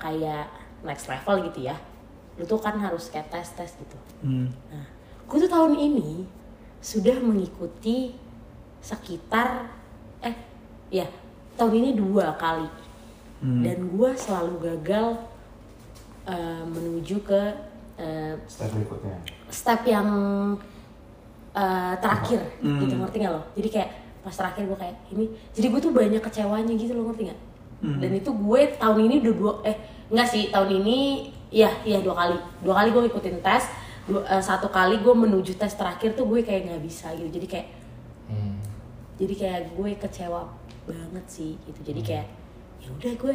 Speaker 2: kayak next level gitu ya lo tuh kan harus kayak tes tes gitu
Speaker 1: Hmm.
Speaker 2: nah gue tuh tahun ini sudah mengikuti sekitar eh ya tahun ini dua kali dan gue selalu gagal eh, menuju ke eh,
Speaker 4: Step berikutnya.
Speaker 2: step yang eh, terakhir gitu ngerti gak lo? Jadi kayak pas terakhir gue kayak ini, jadi gue tuh banyak kecewanya gitu lo ngerti gak? Dan itu gue tahun ini udah dua eh nggak sih tahun ini ya ya dua kali dua kali gue ngikutin tes dua- eh, satu kali gue menuju tes terakhir tuh gue kayak nggak bisa gitu jadi kayak jadi kayak gue kecewa banget sih gitu jadi kayak ya udah gue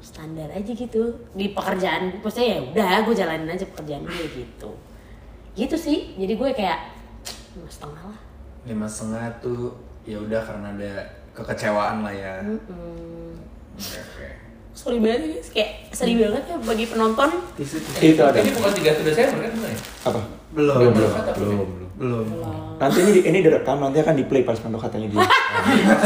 Speaker 2: standar aja gitu di pekerjaan maksudnya ya udah gue jalanin aja pekerjaan gue gitu gitu sih jadi gue kayak lima setengah lah
Speaker 1: lima setengah tuh ya udah karena ada kekecewaan lah ya
Speaker 2: Hmm.
Speaker 1: oke oke
Speaker 2: sorry banget ya, guys kayak sedih banget ya bagi penonton
Speaker 5: Itu ada.
Speaker 3: ini bukan tiga Desember kan bukan ya?
Speaker 5: Apa?
Speaker 1: belum belum
Speaker 3: belum
Speaker 1: belum
Speaker 5: Nanti ini, ini direkam, nanti akan di play pas kantor katanya dia.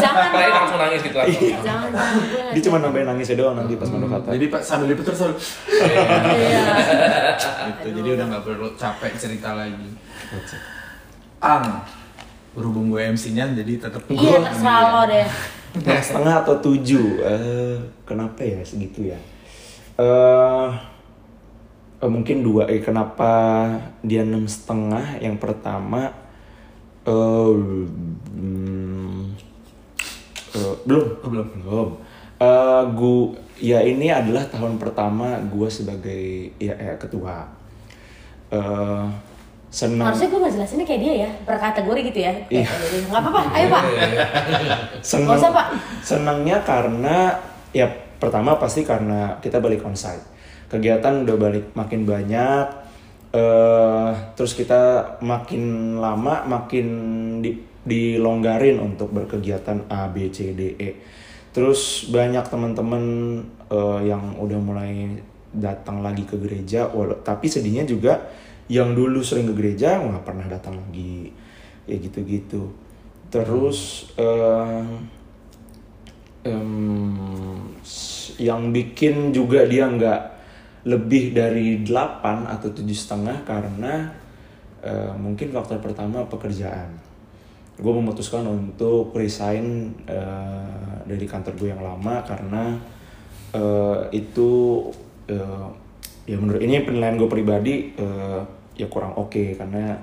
Speaker 2: jangan
Speaker 3: Terakhir langsung nangis gitu langsung
Speaker 1: Iya.
Speaker 2: jangan Iya. jangan gue nggak
Speaker 5: dia cuma nambahin nangisnya doang nanti pas kantor kata.
Speaker 1: jadi pak sambil diputar sambil
Speaker 2: Iya.
Speaker 1: gitu jadi udah nggak perlu capek cerita lagi ang berhubung gue MC-nya jadi tetap
Speaker 2: iya terserah lo
Speaker 1: ya.
Speaker 2: deh
Speaker 5: Enam setengah atau tujuh? Eh, kenapa ya segitu ya? Eh, eh, mungkin dua. Eh, kenapa dia enam setengah? Yang pertama, eh, hmm, eh, belum,
Speaker 1: Oh,
Speaker 5: belum, belum. Eh, gu- ya ini adalah tahun pertama gue sebagai ya, eh, ketua. Eh, senang
Speaker 2: Harusnya gue ngejelasinnya kayak dia ya, berkategori gitu ya. Iya. Gak apa-apa, ayo pak.
Speaker 5: Iya. senang
Speaker 2: Nggak usah, Pak.
Speaker 5: senangnya karena ya pertama pasti karena kita balik onsite kegiatan udah balik makin banyak eh terus kita makin lama makin di, dilonggarin untuk berkegiatan A B C D E terus banyak teman-teman eh, yang udah mulai datang lagi ke gereja wala- tapi sedihnya juga yang dulu sering ke gereja nggak pernah datang lagi ya gitu-gitu Terus eh, em, s- yang bikin juga dia nggak lebih dari 8 atau tujuh setengah karena eh, mungkin faktor pertama pekerjaan. Gue memutuskan untuk resign eh, dari kantor gue yang lama karena eh, itu eh, ya menurut ini penilaian gue pribadi eh, ya kurang oke karena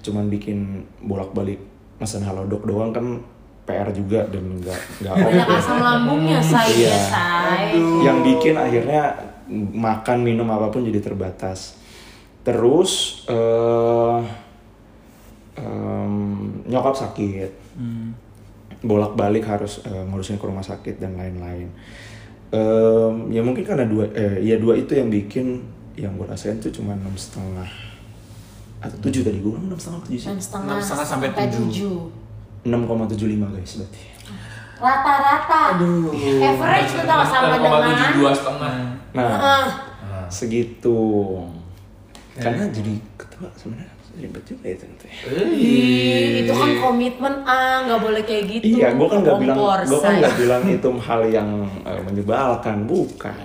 Speaker 5: cuman bikin bolak-balik mesen halodoc doang kan PR juga dan nggak nggak oke
Speaker 2: Banyak asam lambungnya, say.
Speaker 5: Iya.
Speaker 2: Ya, say.
Speaker 5: yang bikin akhirnya makan minum apapun jadi terbatas terus eh em, nyokap sakit
Speaker 2: Hmm.
Speaker 5: bolak balik harus eh, ngurusin ke rumah sakit dan lain-lain Em, ya mungkin karena dua eh, ya dua itu yang bikin yang gue rasain tuh cuma enam setengah atau tujuh tadi gue enam setengah tujuh sih
Speaker 2: Enam setengah,
Speaker 6: Enam setengah sampai tujuh.
Speaker 2: tujuh.
Speaker 5: enam koma tujuh lima guys berarti
Speaker 2: Rata-rata. Average tuh tau sama dengan.
Speaker 3: 6,72 setengah.
Speaker 5: nah
Speaker 2: Ah,
Speaker 5: segitu karena jadi ketua sebenarnya ribet juga ya ternyata ya.
Speaker 2: ih, itu kan komitmen ah nggak boleh kayak gitu.
Speaker 5: Iya, gue kan nggak bilang,
Speaker 2: Kompor,
Speaker 5: gue kan
Speaker 2: say.
Speaker 5: nggak bilang itu hal yang eh, menyebalkan,
Speaker 2: Iya,
Speaker 5: bukan.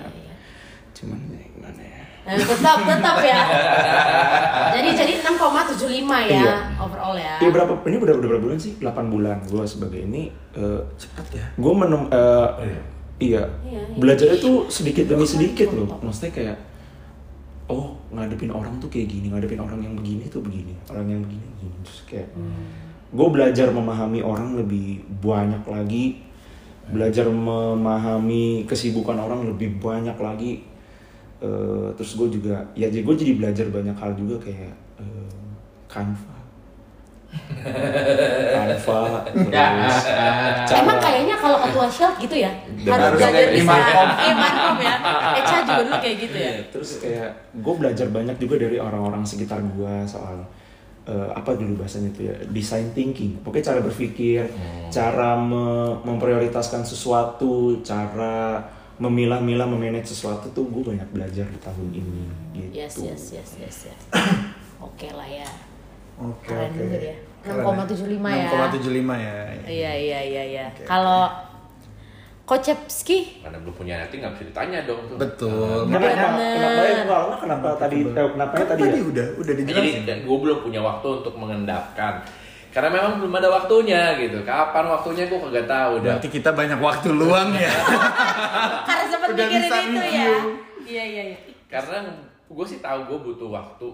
Speaker 5: Cuman ya gimana ya?
Speaker 2: Nah, tetap tetap ya. jadi jadi 6,75 ya
Speaker 5: Iya.
Speaker 2: overall ya.
Speaker 5: Ya berapa ini udah udah berapa bulan sih? 8 bulan gue sebagai ini cepat ya. Gue menem eh, iya.
Speaker 2: Iya, iya.
Speaker 5: Belajarnya tuh sedikit demi sedikit loh. Maksudnya kayak oh, ngadepin orang tuh kayak gini, ngadepin orang yang begini tuh begini, orang yang begini begini. Terus kayak gue belajar memahami orang lebih banyak lagi. Belajar memahami kesibukan orang lebih banyak lagi. Eh, terus gue juga ya jadi gue jadi belajar banyak hal juga kayak eh, Canva Alfa terus cara-
Speaker 2: Emang kayaknya kalau ketua Shield gitu ya harus
Speaker 1: harus
Speaker 2: belajar
Speaker 1: kayak
Speaker 2: bisa
Speaker 1: Imankom.
Speaker 2: Iya, Imankom ya. Echa juga dulu kayak gitu ya.
Speaker 5: terus kayak gue belajar banyak juga dari orang-orang sekitar gue soal eh, apa dulu bahasanya itu ya design thinking pokoknya cara berpikir cara me- memprioritaskan sesuatu cara memilah-milah memanage sesuatu tuh gue banyak belajar di tahun ini gitu
Speaker 2: Yes yes yes yes
Speaker 5: (coughs)
Speaker 2: yes. Oke lah ya.
Speaker 1: Oke,
Speaker 2: Keren
Speaker 1: oke.
Speaker 2: juga ya. dia.
Speaker 1: Keren
Speaker 2: 6,75 ya.
Speaker 1: 6,75 ya.
Speaker 2: Iya iya iya iya. Kalau Kocepski
Speaker 3: Karena belum punya acting nggak bisa ditanya dong tuh.
Speaker 1: Betul.
Speaker 5: Makanya
Speaker 2: Bener.
Speaker 5: kenapa ya Karena kenapa tadi eh, kenapa ya tadi
Speaker 1: tadi,
Speaker 5: ya?
Speaker 1: udah udah dijelasin.
Speaker 3: Nah, Jadi gue belum punya waktu untuk mengendapkan. Karena memang belum ada waktunya gitu. Kapan waktunya gue kagak tahu. Udah
Speaker 1: Berarti kita banyak waktu luang ya.
Speaker 2: karena sempat
Speaker 1: Udah
Speaker 2: mikirin
Speaker 1: bisa
Speaker 2: itu ya.
Speaker 1: review.
Speaker 2: Iya iya iya.
Speaker 3: karena gue sih tahu gue butuh waktu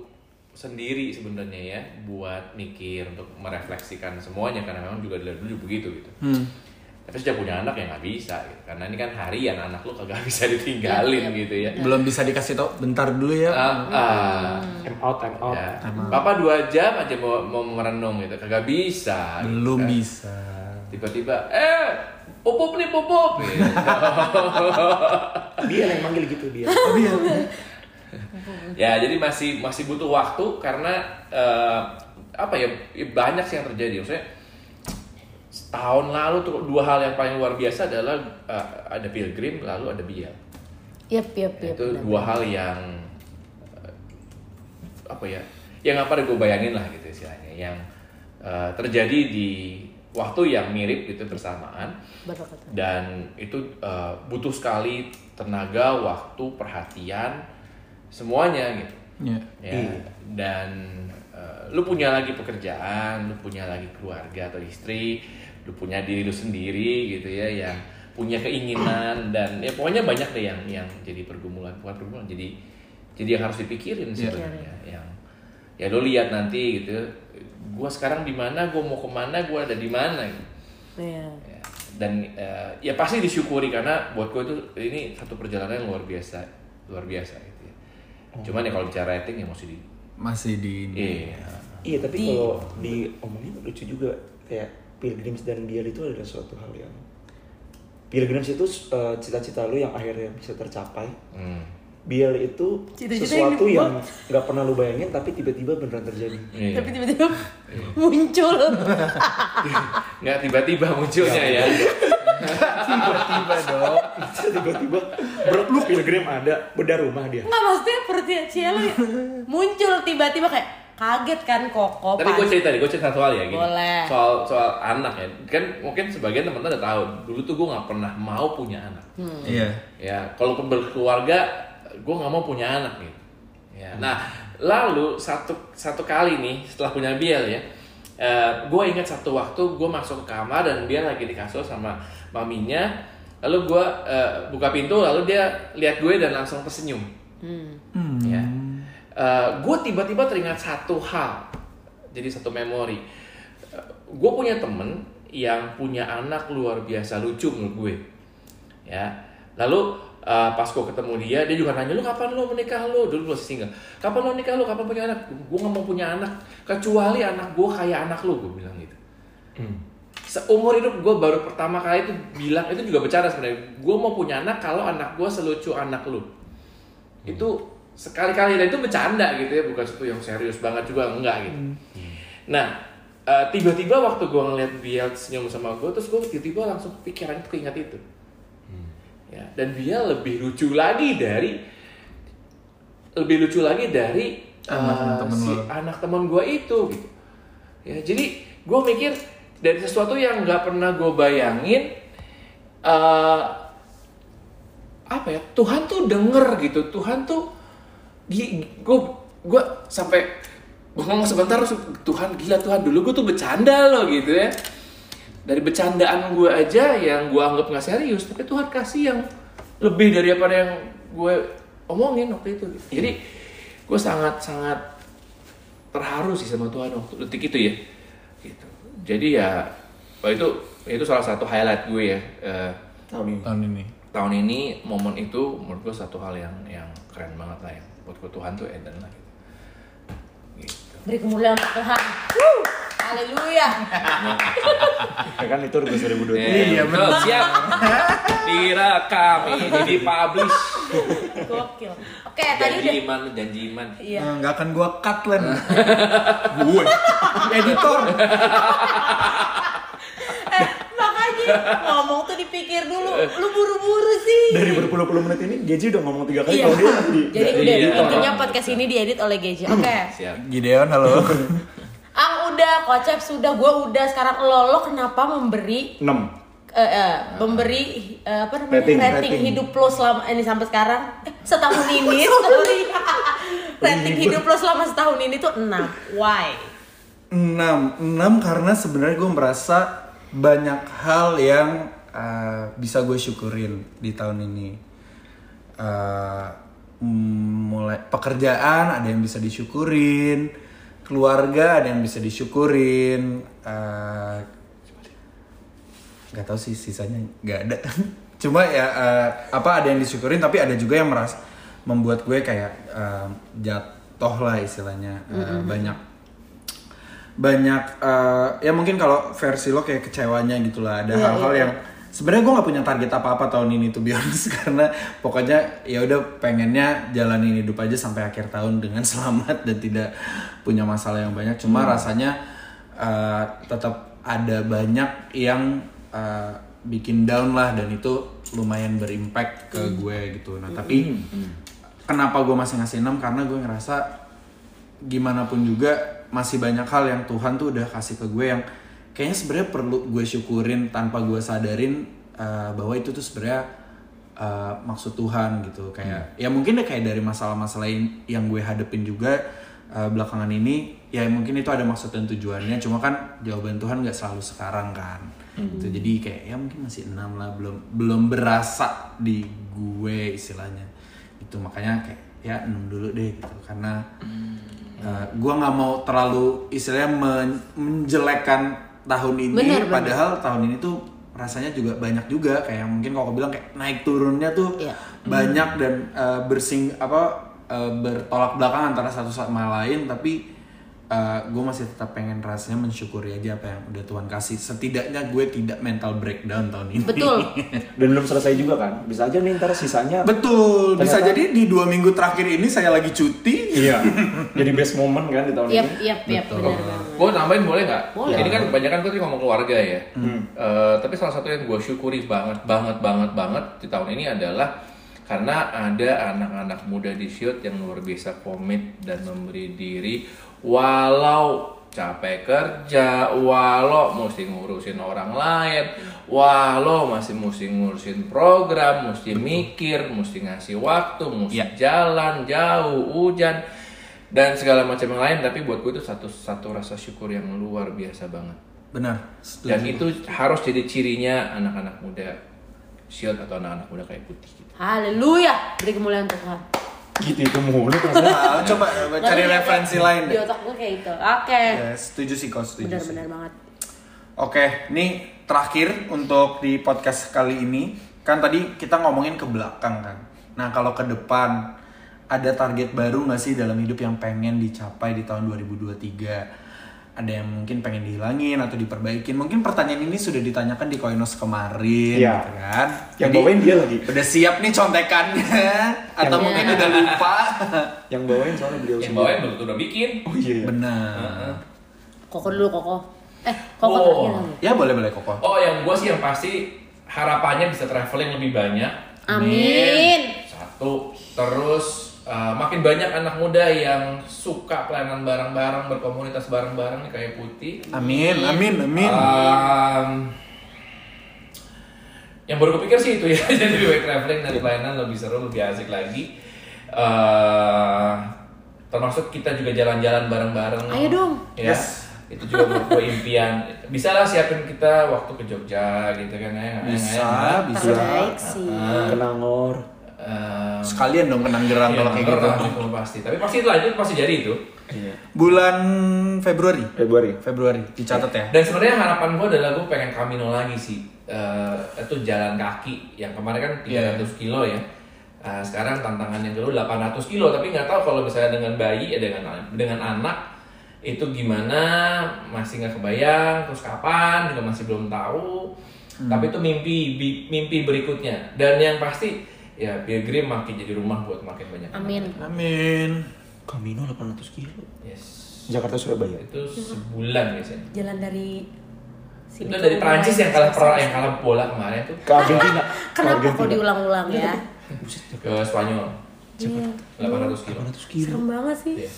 Speaker 3: sendiri sebenarnya ya buat mikir untuk merefleksikan semuanya karena memang juga dari dulu begitu gitu tapi sejak punya anak ya nggak bisa gitu. karena ini kan harian anak lu kagak (laughs) bisa ditinggalin gitu ya
Speaker 1: (laughs) Belum bisa dikasih tau bentar dulu ya.
Speaker 3: Ah, ah,
Speaker 4: I'm out, I'm
Speaker 5: Oh,
Speaker 4: out.
Speaker 3: ya. papa dua jam aja mau, mau merenung gitu kagak bisa gitu
Speaker 1: Belum
Speaker 3: kan.
Speaker 1: bisa.
Speaker 3: tiba-tiba eh popop nih Gitu. popop gitu.
Speaker 4: Dia yang manggil gitu dia.
Speaker 2: (laughs)
Speaker 3: ya jadi masih masih butuh waktu karena eh, apa ya ya banyak sih yang terjadi maksudnya setahun lalu tuh dua hal yang paling luar biasa adalah eh, ada pilgrim lalu ada bial
Speaker 2: Yep yep yep.
Speaker 3: itu dua hal yang eh, apa ya yang apa gue bayangin lah gitu istilahnya yang eh, terjadi di waktu yang mirip gitu bersamaan
Speaker 2: Betul betul.
Speaker 3: dan itu eh, butuh sekali tenaga waktu perhatian semuanya gitu
Speaker 1: Iya.
Speaker 3: ya dan eh, lu punya lagi pekerjaan lu punya lagi keluarga atau istri lu punya diri lu sendiri gitu ya yang punya keinginan dan ya pokoknya banyak deh yang yang jadi pergumulan bukan pergumulan jadi jadi yang harus dipikirin sebenarnya yang ya lu lihat nanti gitu gua sekarang di mana gua mau kemana gua ada di mana gitu.
Speaker 2: Iya.
Speaker 3: Ya, dan eh, ya pasti disyukuri karena buat gue itu ini satu perjalanan yang luar biasa luar biasa gitu ya cuman ya kalau bicara rating ya mesti di
Speaker 1: Masih di
Speaker 3: iya
Speaker 6: Iya tapi kalau diomongin lucu juga kayak pilgrims dan biar itu adalah suatu hal yang pilgrims itu eh, cita-cita lu yang akhirnya bisa tercapai.
Speaker 3: Hmm.
Speaker 6: Biar itu
Speaker 2: Cita-cita yang
Speaker 6: sesuatu
Speaker 2: dibuat.
Speaker 6: yang nggak pernah lu bayangin tapi tiba-tiba beneran terjadi. (laughs)
Speaker 3: Iya.
Speaker 2: Tapi tiba-tiba muncul.
Speaker 3: Nggak tiba-tiba munculnya ya.
Speaker 1: (laughs) tiba-tiba dong
Speaker 6: tiba-tiba ber- lu pilgrim ada bedah rumah dia.
Speaker 2: Nggak maksudnya seperti Cielo ya, muncul tiba-tiba kayak kaget kan koko.
Speaker 3: Tapi gue
Speaker 2: pan-
Speaker 3: cerita deh, gue cerita soal ya gini.
Speaker 2: Boleh.
Speaker 3: Soal soal anak ya. Kan mungkin sebagian teman-teman udah tahu. Dulu tuh gue nggak pernah mau punya anak.
Speaker 1: iya
Speaker 3: Ya, kalau berkeluarga, gue nggak mau punya anak gitu. Ya.
Speaker 2: Hmm.
Speaker 3: Nah, lalu satu satu kali nih setelah punya Biel ya, gue ingat satu waktu gue masuk ke kamar dan Biel lagi di kasur sama maminya. Lalu gue buka pintu, lalu dia lihat gue dan langsung tersenyum.
Speaker 2: Hmm.
Speaker 1: Hmm.
Speaker 3: Ya. gue Eh, tiba-tiba teringat satu hal, jadi satu memori. gue punya temen yang punya anak luar biasa lucu menurut gue ya lalu uh, pas gue ketemu dia dia juga nanya lu kapan lu menikah lu dulu masih single kapan lu nikah lu kapan punya anak gue nggak mau punya anak kecuali anak gue kayak anak lu gue bilang gitu seumur hidup gue baru pertama kali itu bilang itu juga bercanda sebenarnya gue mau punya anak kalau anak gue selucu anak lu Hmm. itu sekali-kali dan itu bercanda gitu ya bukan sesuatu yang serius banget juga enggak gitu nah eh, tiba-tiba waktu gue ngeliat Biel senyum sama gue terus gue tiba-tiba langsung pikiran itu keinget itu ya dan dia lebih lucu lagi dari lebih lucu lagi dari
Speaker 1: Anak
Speaker 3: eh,
Speaker 1: temen
Speaker 3: si
Speaker 1: lo.
Speaker 3: anak teman gue itu gitu ya jadi gue mikir dari sesuatu yang nggak pernah gue bayangin eh, apa ya Tuhan tuh denger gitu Tuhan tuh gue gue sampai gua ngomong sebentar terus, Tuhan gila Tuhan dulu gue tuh bercanda loh gitu ya dari bercandaan gue aja yang gue anggap nggak serius tapi Tuhan kasih yang lebih daripada yang gue omongin waktu itu gitu. jadi gue sangat sangat terharu sih sama Tuhan waktu detik itu ya gitu jadi ya wah itu itu salah satu highlight gue ya eh,
Speaker 1: tahun ini
Speaker 3: tahun ini momen itu menurut gue satu hal yang yang keren banget lah yang buat gue Tuhan tuh Eden lah gitu. gitu.
Speaker 2: Beri kemuliaan untuk Tuhan. Woo! Haleluya.
Speaker 5: Ya kan itu Rubus 2020.
Speaker 3: Iya betul (laughs) siap direkam ini di publish
Speaker 2: Gokil. Oke, Eh, tadi
Speaker 3: janji
Speaker 2: udah
Speaker 3: iman janji iman
Speaker 2: Iya.
Speaker 1: Eh, nggak akan gua cut (laughs) Len gue editor
Speaker 2: Eh, makanya ngomong tuh dipikir dulu. Lu buru-buru sih.
Speaker 4: Dari berpuluh-puluh menit ini Geji udah ngomong tiga kali
Speaker 2: Iya. (laughs)
Speaker 4: kalau dia nanti
Speaker 2: Jadi udah
Speaker 3: Iya.
Speaker 2: intinya podcast ini diedit oleh Geja. Oke.
Speaker 3: siap
Speaker 1: Gideon halo (laughs)
Speaker 2: Ang udah, Kocep sudah, gue udah. Sekarang lo, lo kenapa memberi
Speaker 4: 6
Speaker 2: eh, eh, memberi eh, apa namanya rating,
Speaker 4: Rating, rating.
Speaker 2: hidup lo selama ini sampai sekarang eh, setahun ini sorry. (laughs) rating hidup lo selama setahun ini tuh 6 why
Speaker 1: 6 6 karena sebenarnya gue merasa banyak hal yang uh, bisa gue syukurin di tahun ini. Uh, mm, mulai pekerjaan ada yang bisa disyukurin, keluarga ada yang bisa disyukurin. uh, nggak tahu sih sisanya nggak ada. (laughs) Cuma ya uh, apa ada yang disyukurin tapi ada juga yang merasa membuat gue kayak uh, jatuh lah istilahnya Uh, banyak banyak eh, ya mungkin kalau versi lo kayak kecewanya gitu lah ada hal-hal yang sebenarnya gue nggak punya target apa-apa tahun ini tuh biasa (laughs) karena pokoknya ya udah pengennya jalanin hidup aja sampai akhir tahun dengan (laughs) selamat dan tidak punya masalah yang banyak cuma rasanya eh, tetap ada banyak yang eh, bikin down lah dan itu lumayan berimpact ke gue gitu nah tapi kenapa gue masih ngasih 6 karena gue ngerasa gimana pun juga masih banyak hal yang Tuhan tuh udah kasih ke gue yang kayaknya sebenarnya perlu gue syukurin tanpa gue sadarin uh, bahwa itu tuh sebenarnya uh, maksud Tuhan gitu kayak ya mungkin deh kayak dari masalah-masalah yang, yang gue hadepin juga uh, belakangan ini ya mungkin itu ada maksud dan tujuannya cuma kan jawaban Tuhan nggak selalu sekarang kan Gitu, jadi kayak ya mungkin masih enam lah belum belum berasa di gue istilahnya itu Gitu, makanya kayak ya enam dulu deh gitu karena uh, gua nggak mau terlalu istilahnya men- menjelekkan tahun ini
Speaker 2: Bener, bener.
Speaker 1: padahal tahun ini tuh rasanya juga banyak juga kayak mungkin kalau aku bilang kayak naik turunnya tuh
Speaker 2: Iya.
Speaker 1: banyak dan eh, uh, bersing apa uh, bertolak belakang antara satu sama lain tapi uh, gue masih tetap pengen rasanya mensyukuri aja apa yang udah Tuhan kasih. Setidaknya gue tidak mental breakdown tahun ini.
Speaker 2: Betul.
Speaker 7: Dan belum selesai juga kan? Bisa aja nih ntar
Speaker 6: (laughs)
Speaker 7: sisanya
Speaker 1: Betul. Bisa jadi di dua minggu terakhir ini saya lagi cuti.
Speaker 7: Iya. Jadi best moment kan di tahun
Speaker 2: Yap,
Speaker 7: ini.
Speaker 2: yap, yap,
Speaker 1: Betul.
Speaker 2: benar banget.
Speaker 3: Gue nambahin boleh nggak?
Speaker 2: Boleh.
Speaker 3: Ini kan kebanyakan tuh tadi ngomong keluarga ya. Eh, tapi salah satu yang gue syukuri banget, banget, banget, banget di tahun ini adalah karena ada anak-anak muda di shoot yang luar biasa komit dan memberi diri walau capek kerja, walau mesti ngurusin orang lain, walau masih mesti ngurusin program, mesti mikir, mesti ngasih waktu, mesti
Speaker 1: Iya.
Speaker 3: jalan jauh, hujan, dan segala macam yang lain tapi buat gue itu satu satu rasa syukur yang luar biasa banget
Speaker 1: Benar. setuju.
Speaker 3: dan itu harus jadi cirinya anak-anak muda shield atau anak-anak muda kayak putih gitu.
Speaker 2: Haleluya, beri kemuliaan Tuhan.
Speaker 7: Gitu itu mulu rasanya.
Speaker 1: Nah, coba coba cari
Speaker 2: Tapi
Speaker 1: referensi lain
Speaker 2: Di
Speaker 1: deh.
Speaker 2: otak gue kayak gitu. Oke.
Speaker 1: Ya, setuju sih kau setuju. sih.
Speaker 2: Benar-benar banget.
Speaker 1: Oke, ini terakhir untuk di podcast kali ini. Kan tadi kita ngomongin ke belakang kan. Nah, kalau ke depan ada target baru nggak sih dalam hidup yang pengen dicapai di tahun 2023? Ada yang mungkin pengen dihilangin atau diperbaikin. Mungkin pertanyaan ini sudah ditanyakan di Koinos kemarin,
Speaker 5: Iya.
Speaker 1: gitu kan?
Speaker 5: Yang
Speaker 1: Jadi,
Speaker 5: bawain dia lagi.
Speaker 1: udah siap nih contekannya atau mungkin udah lupa? (laughs)
Speaker 5: Yang bawain soalnya beliau
Speaker 3: yang
Speaker 5: sendiri.
Speaker 3: bawain belum tentu udah bikin
Speaker 5: Oh iya. iya.
Speaker 1: Benar.
Speaker 2: Koko dulu, Koko. Eh, Koko
Speaker 3: Oh.
Speaker 2: terakhir lagi.
Speaker 1: Ya boleh boleh kokoh.
Speaker 3: oh yang gue sih yang pasti harapannya bisa traveling lebih banyak
Speaker 2: Amin.
Speaker 3: satu terus uh, makin banyak anak muda yang suka pelayanan bareng-bareng berkomunitas bareng-bareng nih kayak putih
Speaker 1: Amin, amin, amin.
Speaker 3: Um, yang baru kupikir sih itu ya, (laughs) jadi lebih baik traveling dan pelayanan lebih seru, lebih asik lagi. Eh, termasuk kita juga jalan-jalan bareng-bareng.
Speaker 2: Ayo dong.
Speaker 3: Ya, Itu juga menurut gue impian. Bisa lah siapin kita waktu ke Jogja gitu kan ya. nggak-
Speaker 1: Bisa,
Speaker 3: nggak- nggak.
Speaker 1: bisa.
Speaker 2: Terbaik sih.
Speaker 5: Kenangor.
Speaker 3: Eh,
Speaker 1: Sekalian dong kenang gerang
Speaker 3: ya,
Speaker 1: kalau kayak gitu.
Speaker 3: pernah, itu pasti. Tapi pasti itu aja pasti jadi itu.
Speaker 5: Iya.
Speaker 1: Bulan Februari.
Speaker 5: Februari.
Speaker 1: Februari dicatat ya.
Speaker 3: Dan sebenarnya harapan gue adalah gue pengen Camino lagi sih. Eh, itu jalan kaki yang kemarin kan 300 kilo ya. Eh, sekarang tantangan yang kedua 800 kilo tapi nggak tahu kalau misalnya dengan bayi ya dengan dengan anak itu gimana masih nggak kebayang terus kapan juga masih belum tahu tapi itu mimpi bi- mimpi berikutnya dan yang pasti ya pilgrim makin jadi rumah buat makin banyak anak.
Speaker 2: Amin.
Speaker 1: Amin.
Speaker 5: Kamino 800 kilo.
Speaker 3: yes
Speaker 5: Jakarta Surabaya.
Speaker 3: itu sebulan biasanya
Speaker 2: Jalan dari sini ke
Speaker 3: itu dari
Speaker 2: Uruguay.
Speaker 3: Prancis yang kalah pra- yang kalah bola kemarin tuh
Speaker 5: Ke Argentina.
Speaker 2: Kenapa kok diulang-ulang ya? Iya,
Speaker 3: ke Spanyol. Cepet. 800 kilo.
Speaker 5: 800 kilo.
Speaker 2: Serem banget sih.
Speaker 3: Iya.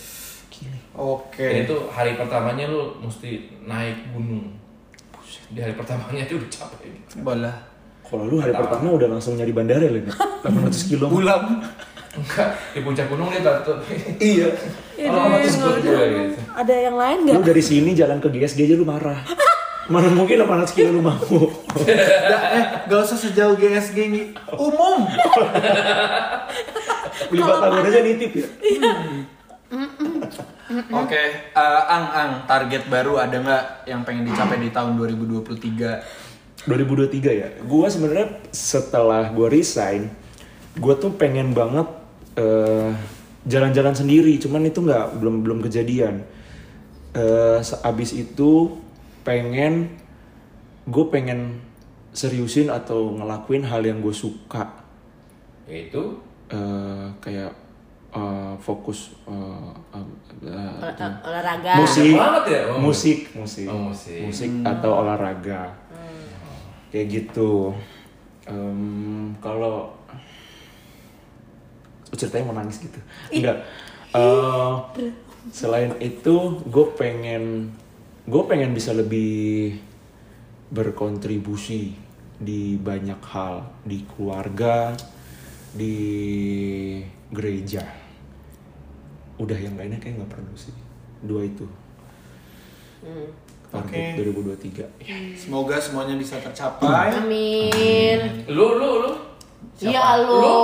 Speaker 3: Dan
Speaker 1: Oke.
Speaker 3: itu hari pertamanya lu mesti naik gunung. Di hari pertamanya dia udah capek.
Speaker 1: Bola.
Speaker 5: Kalau lu hari pertama udah langsung nyari bandara
Speaker 2: (laughs)
Speaker 5: lagi. 800 kilo.
Speaker 1: Bulan.
Speaker 3: Enggak, di puncak gunung dia tato.
Speaker 5: Iya.
Speaker 2: Ih,
Speaker 3: Oh,
Speaker 2: Deng,
Speaker 3: terus
Speaker 2: nggak
Speaker 3: gue
Speaker 2: ada.
Speaker 3: gitu.
Speaker 2: Ada yang lain nggak?
Speaker 5: Lu dari sini jalan ke GSG aja lu
Speaker 2: (laughs)
Speaker 5: marah. Mana mungkin 800 kilo lu mampu.
Speaker 1: Nggak, eh, gak usah sejauh GSG ini. Umum.
Speaker 5: Beli batagor aja nitip ya.
Speaker 1: Oke. eh, ang, ang, target baru ada nggak yang pengen dicapai di tahun 2023?
Speaker 5: 2023 ya. Gua sebenarnya setelah gua resign, gua tuh pengen banget eh, jalan-jalan sendiri, cuman itu nggak belum belum kejadian. Eh se- abis itu pengen gue pengen seriusin atau ngelakuin hal yang gue suka
Speaker 3: Ya Itu
Speaker 5: Eh, kayak eh, fokus eh, eh, eh,
Speaker 2: Ola- ol- Olahraga.
Speaker 5: musik
Speaker 3: banget ya? Oh.
Speaker 5: musik musik
Speaker 3: Oh, musik.
Speaker 5: atau olahraga kayak gitu Em, kalau Oh, ceritanya mau nangis gitu enggak Eh, selain itu gue pengen gue pengen bisa lebih berkontribusi di banyak hal di keluarga di gereja udah yang lainnya kayak nggak perlu sih dua itu target 2023
Speaker 1: Semoga semuanya bisa tercapai.
Speaker 2: Amin.
Speaker 3: Lu lu lu.
Speaker 2: Iya
Speaker 3: Lu?
Speaker 2: lu.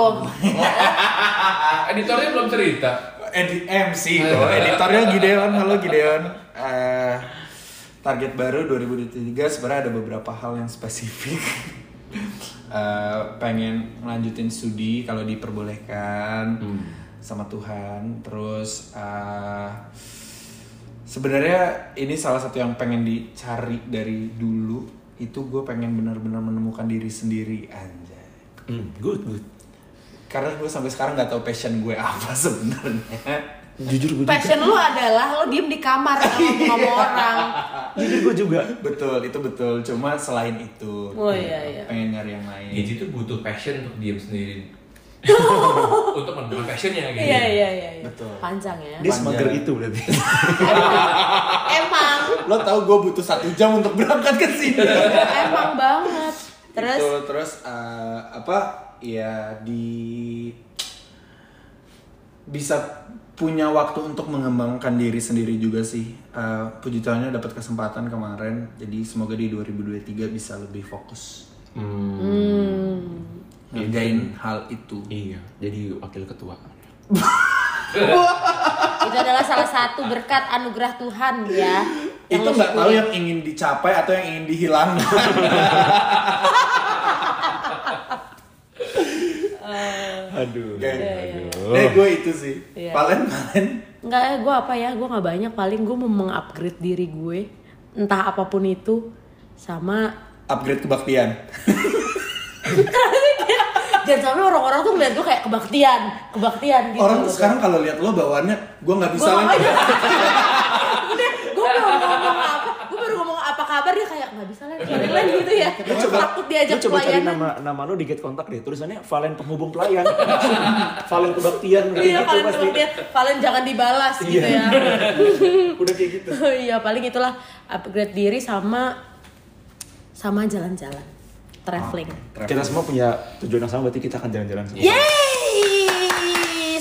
Speaker 3: Editornya belum cerita.
Speaker 1: Edit MC kok. Editornya Gideon. Halo Gideon. Eh, target baru 2023 sebenarnya ada beberapa hal yang spesifik. (laughs) Eh, pengen lanjutin studi kalau diperbolehkan sama Tuhan. Terus eh, Sebenarnya ini salah satu yang pengen dicari dari dulu itu gue pengen benar-benar menemukan diri sendiri anjay.
Speaker 5: good, good.
Speaker 1: Karena gue sampai sekarang nggak tahu passion gue apa (laughs) sebenarnya.
Speaker 6: Jujur gue juga.
Speaker 2: Passion lu adalah lo diem di kamar kalau ngomong sama orang.
Speaker 6: Jujur gue juga.
Speaker 1: betul, itu betul. Cuma selain itu,
Speaker 2: Oh, iya, iya.
Speaker 1: pengen nyari yang lain.
Speaker 8: Gigi tuh butuh passion untuk diem
Speaker 2: (laughs)
Speaker 8: sendiri. untuk menemukan passionnya gitu.
Speaker 2: Iya iya iya. iya.
Speaker 1: Betul.
Speaker 2: Panjang ya.
Speaker 6: Dia semager itu berarti.
Speaker 2: Emang
Speaker 1: Lo tau gue butuh satu jam untuk berangkat ke sini.
Speaker 2: emang banget. Terus
Speaker 1: Gitu, terus eh, apa ya di bisa punya waktu untuk mengembangkan diri sendiri juga sih Eh, puji Tuhannya dapat kesempatan kemarin jadi semoga di 2023 bisa lebih fokus
Speaker 2: Hmm.
Speaker 1: ngerjain hal itu
Speaker 5: Iya, jadi wakil ketua.
Speaker 2: itu adalah salah satu berkat anugerah Tuhan ya. Yang
Speaker 1: itu
Speaker 2: lu
Speaker 1: nggak tahu
Speaker 2: syukuri.
Speaker 1: yang ingin dicapai atau yang ingin (laughs) dihilangkan
Speaker 5: (laughs) Aduh.
Speaker 1: Iya, eh gue itu sih
Speaker 2: Iya.
Speaker 1: palen palen
Speaker 2: Enggak, eh, gue apa ya? Gue nggak banyak. Paling gue mau mengupgrade diri gue, entah apapun itu, sama (laughs)
Speaker 1: upgrade kebaktian
Speaker 2: jangan sampai orang-orang tuh ngeliat gue kayak kebaktian, kebaktian gitu.
Speaker 1: orang tuh sekarang kalau lihat lo bawaannya gue nggak
Speaker 2: gue
Speaker 1: bisa lagi
Speaker 2: (laughs) gue baru ngomong apa? Gue baru ngomong apa kabar dia kayak nggak bisa lagi, balik lagi gitu ya. Gue takut diajak
Speaker 5: Lu coba cari
Speaker 2: pelayanan.
Speaker 5: nama nama lu di get kontak deh. Tulisannya Valen penghubung
Speaker 2: (laughs)
Speaker 5: pelayan. Valen kebaktian kayak
Speaker 2: Iya,
Speaker 5: gitu
Speaker 2: Valen
Speaker 5: pasti. Iya.
Speaker 2: kebaktian. Valen jangan dibalas gitu ya.
Speaker 6: Udah kayak gitu.
Speaker 2: iya paling itulah upgrade diri sama sama jalan-jalan traveling
Speaker 1: Ah,
Speaker 5: Kita semua punya tujuan yang sama berarti kita akan jalan-jalan semua.
Speaker 1: iya.
Speaker 2: Yeay!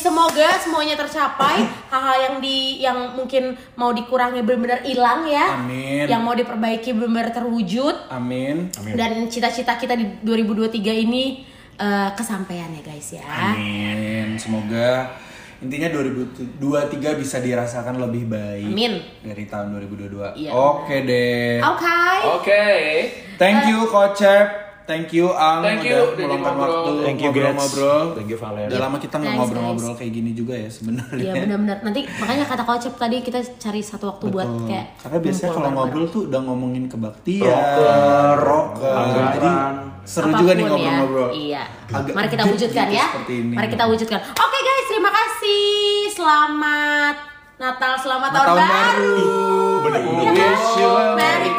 Speaker 2: semoga semuanya tercapai hal-hal yang di yang mungkin mau dikurangi benar-benar hilang ya
Speaker 1: Amin.
Speaker 2: yang mau diperbaiki benar-benar terwujud
Speaker 1: amin
Speaker 2: dan cita-cita kita di 2023 ini eh, kesampaian ya guys ya
Speaker 1: Amin. Semoga intinya 2023 bisa dirasakan lebih baik.
Speaker 2: Amin.
Speaker 1: Dari tahun 2022.
Speaker 2: Iya.
Speaker 1: Oke deh.
Speaker 2: oke Eh.
Speaker 1: Oh.
Speaker 3: Oke.
Speaker 1: Thank you Kocep. Thank you Ang
Speaker 3: Thank you,
Speaker 1: udah
Speaker 3: udah
Speaker 1: meluangkan
Speaker 3: ngobrol.
Speaker 1: waktu
Speaker 5: Thank you, Gretz.
Speaker 1: ngobrol-ngobrol.
Speaker 5: Thank you, Valen.
Speaker 1: Udah lama kita nggak
Speaker 2: Thanks,
Speaker 1: ngobrol-ngobrol kayak gini juga ya sebenarnya.
Speaker 2: Iya benar-benar nanti makanya kata kocep tadi kita cari satu waktu buat
Speaker 1: Betul.
Speaker 2: kayak
Speaker 1: Karena biasanya
Speaker 2: ngumpul
Speaker 1: kalau
Speaker 2: bareng-bareng.
Speaker 1: ngobrol tuh udah ngomongin kebaktian, rocker,
Speaker 5: anggaran.
Speaker 1: jadi seru juga nih
Speaker 2: Apapun ya.
Speaker 1: ngobrol-ngobrol.
Speaker 2: Iya.
Speaker 1: Agak
Speaker 2: Mari kita
Speaker 1: deep
Speaker 2: wujudkan
Speaker 1: gitu
Speaker 2: ya.
Speaker 1: seperti ini.
Speaker 2: Mari kita wujudkan. Oke guys, terima kasih. Selamat Natal, selamat tahun,
Speaker 1: Tahun
Speaker 2: baru.
Speaker 1: baru.
Speaker 2: Ya kan? Merry